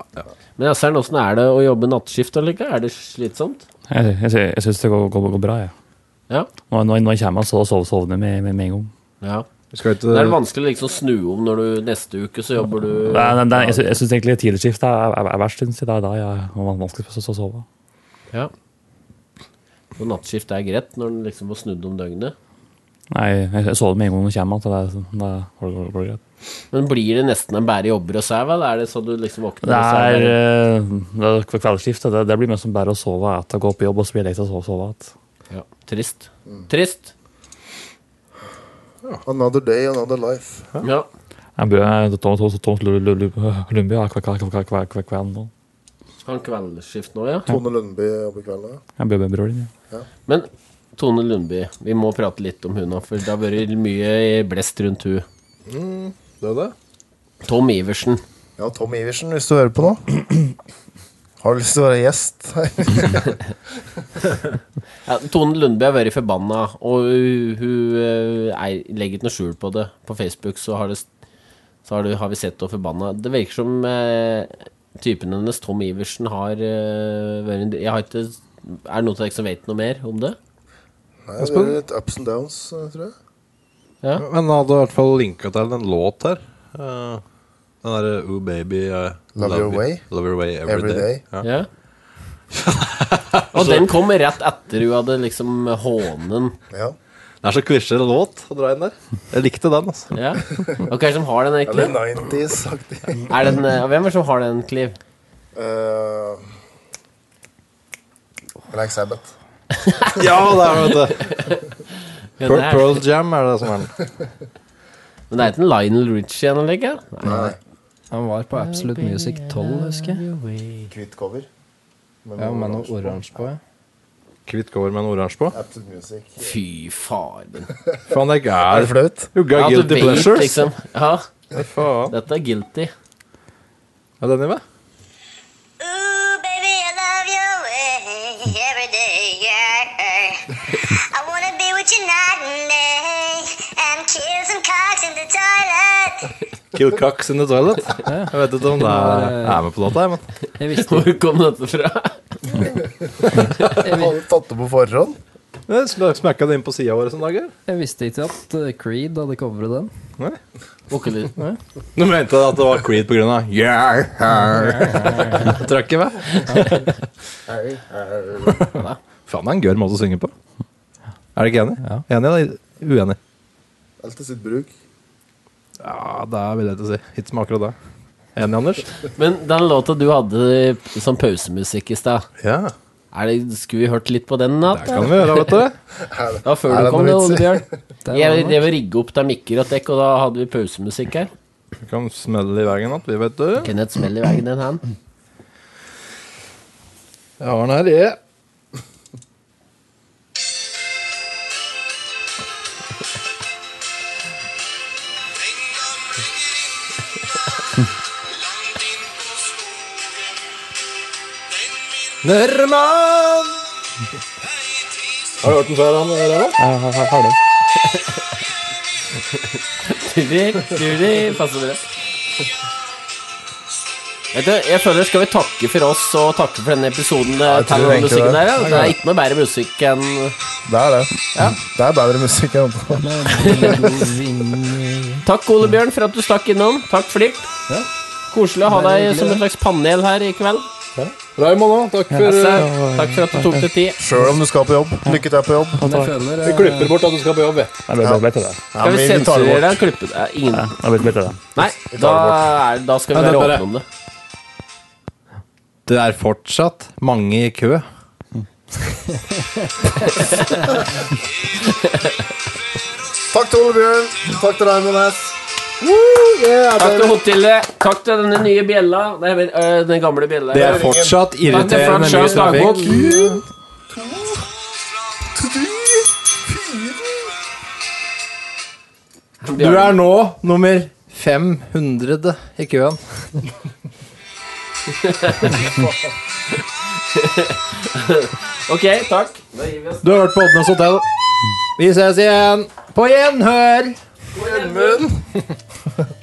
Men Assern, åssen er det å jobbe nattskift? eller ikke? Er det slitsomt?
Jeg, jeg, jeg syns det går, går, går bra, jeg.
Ja.
Nå, nå, nå kommer han, så sov- sovner med, med, med en gang.
Ja.
Skal
Det er vanskelig å liksom snu om når du neste uke så jobber du
Nei, nei, nei, jeg sy- jeg syns egentlig tideskift er, er, er verst, syns jeg. Det er da jeg har vanskelig for å so- sove.
Ja. Og nattskift er greit når den liksom får snudd om døgnet.
Nei, jeg jeg sover med en gang hun kommer. at Det, er- det er- går, går, går greit.
Men blir det nesten en bare jobber og sau, eller er det sånn du liksom våkner
Det
og så
er,
det-
eh, det er kve- kveldsskiftet. Det, det blir mest som bare å sove etter å gå på jobb, og så blir jeg lei av å sove- sove igjen.
Ja, trist. Trist!
Mm. Another day, another life.
Ja.
Jeg bor Tom, Tom, Tom Lu- Lu- Lu- Lundby har kve- kve- kve- kve- kve- kve- kvelden nå.
Skal han kveldsskift nå, ja?
Tone Lundby jobber kvelden.
Jeg bor med broren min.
Ja.
Men Tone Lundby, vi må prate litt om hun nå, for det har vært mye blest rundt hun.
Mm, det er det.
Tom Iversen.
Ja, Tom Iversen, hvis du hører på nå. Har du lyst til å være gjest her?
Ja, Tone Lundby har vært forbanna, og hun, hun eh, er, legger ikke noe skjul på det. På Facebook så har, det, så har, det, har vi sett henne forbanna. Det virker som eh, typen hennes, Tom Iversen, har eh, vært en Jeg har ikke Er det noen av dere som vet noe mer om det?
Nei, det er litt ups and downs, eh, tror jeg.
Men han hadde i hvert fall linka til en låt her. Eh, den derre Oh Baby eh,
Love Your Way?
Love Your Way Every,
Every
day.
Day.
Ja. Og den kom rett etter hun hadde liksom hånen.
Det er så klisjé låt å dra inn der. Jeg likte den, altså.
Ja. Og hva er det som har den, egentlig?
Eller 90s-aktig.
Er den, eh, hvem er det som har den, Clive?
Eh, Black Sabbath.
Ja, det er det, vet
Ja,
du. Pearl,
det er-
Pearl Jam er det som er den.
Men det er ikke en Lionel Richie ennå, legger jeg?
Nei.
Han var på Absolute Music 12, husker jeg.
Hvitt cover. Med
Ja,
noe
med noe
oransje på.
oransje på. ja.
Hvitt cover med en oransje på.
Absolute Music.
Fy faen.
Faen, jeg er
Er det flaut?
You
Ja,
got
altså, du
guilty
vet,
pleasures.
Liksom. Ja.
faen.
Dette er guilty.
Er den i meg?
Baby, I love your way every day, yeah. I wanna be with you night and day and kill some cocks in the toilet.
Kill Cocks in the Toilet. Jeg vet ikke om det er, jeg er med på låta, jeg, men.
Hvor kom dette fra?
Har du tatt det på forhånd?
Jeg sm- smekka det inn på sida vår en dag. eller?
Jeg visste ikke at eh, Creed hadde covret den.
Nei.
Nei.
Du mente at det var Creed på grunn av yeah, yeah. Trøkket, hva? Faen, det er en gørr måte å synge på. Er du ikke enig? Enig eller uenig?
Alt til sitt bruk.
Ja, det vil jeg ikke si. Ikke med akkurat det. Enig, Anders?
Men den låta du hadde som pausemusikk i stad er det, Skulle vi hørt litt på den? Det
kan vi gjøre, vet du.
Det var før
Er
du
det
kom,
noe
det,
vits
Ole
i?
Bjørn.
Det var
Jeg
nok.
drev og rigga opp der mikker og dekk, og da hadde vi pausemusikk her.
Vi kan smelle i veien att, vi, vet du.
Kenneth smell i veien, den her.
Jeg har den her, jeg. Nørman! Har du hørt den før, han Ræva? Ja, jeg har den.
Turi, turi, passer bra. Vet du, jeg føler Skal vi takke for oss og takke for denne episoden? Ja,
jeg tror egentlig
musikken
det.
der, ja.
Jeg
det
kan
er
det.
ikke noe bedre musikk enn
Det er det. Det er bedre musikk enn
Takk, Ole Bjørn, for at du stakk innom. Takk, Flipp. Koselig å ha
Bare
deg
hyggelig,
som
det.
et slags panel her i kveld.
Raymond òg, takk
for-
Takk for at du tok deg tid.
Sjøl om du skal på jobb. Lykke til på jobb.
Men jeg føler, eh,
Vi klipper bort at du skal på jobb, vi.
Nei, det ble- ble til det.
Ja,
Skal vi
men vi tar det
sensurere
bort.
deg? Klippe det? Eh, Ingen.
Ja, det ble- ble til det.
Nei,
Vi tar det
da,
bort.
er, da skal
Nei,
vi
det
være
er bare-
åpne om det.
Det er fortsatt mange i kø.
Takk til Ole Bjørn. Takk til Raymond S.
Takk til hotellet. Takk til denne nye bjella. Nei, men, øh, den gamle bjella.
Det er fortsatt irriterende mye trafikk. Du er nå nummer 500 i køen.
ok, takk. Da gir vi oss.
Du har hørt på Oddnes Hotel. Vi ses igjen. På gjenhør!
Gjenmunn.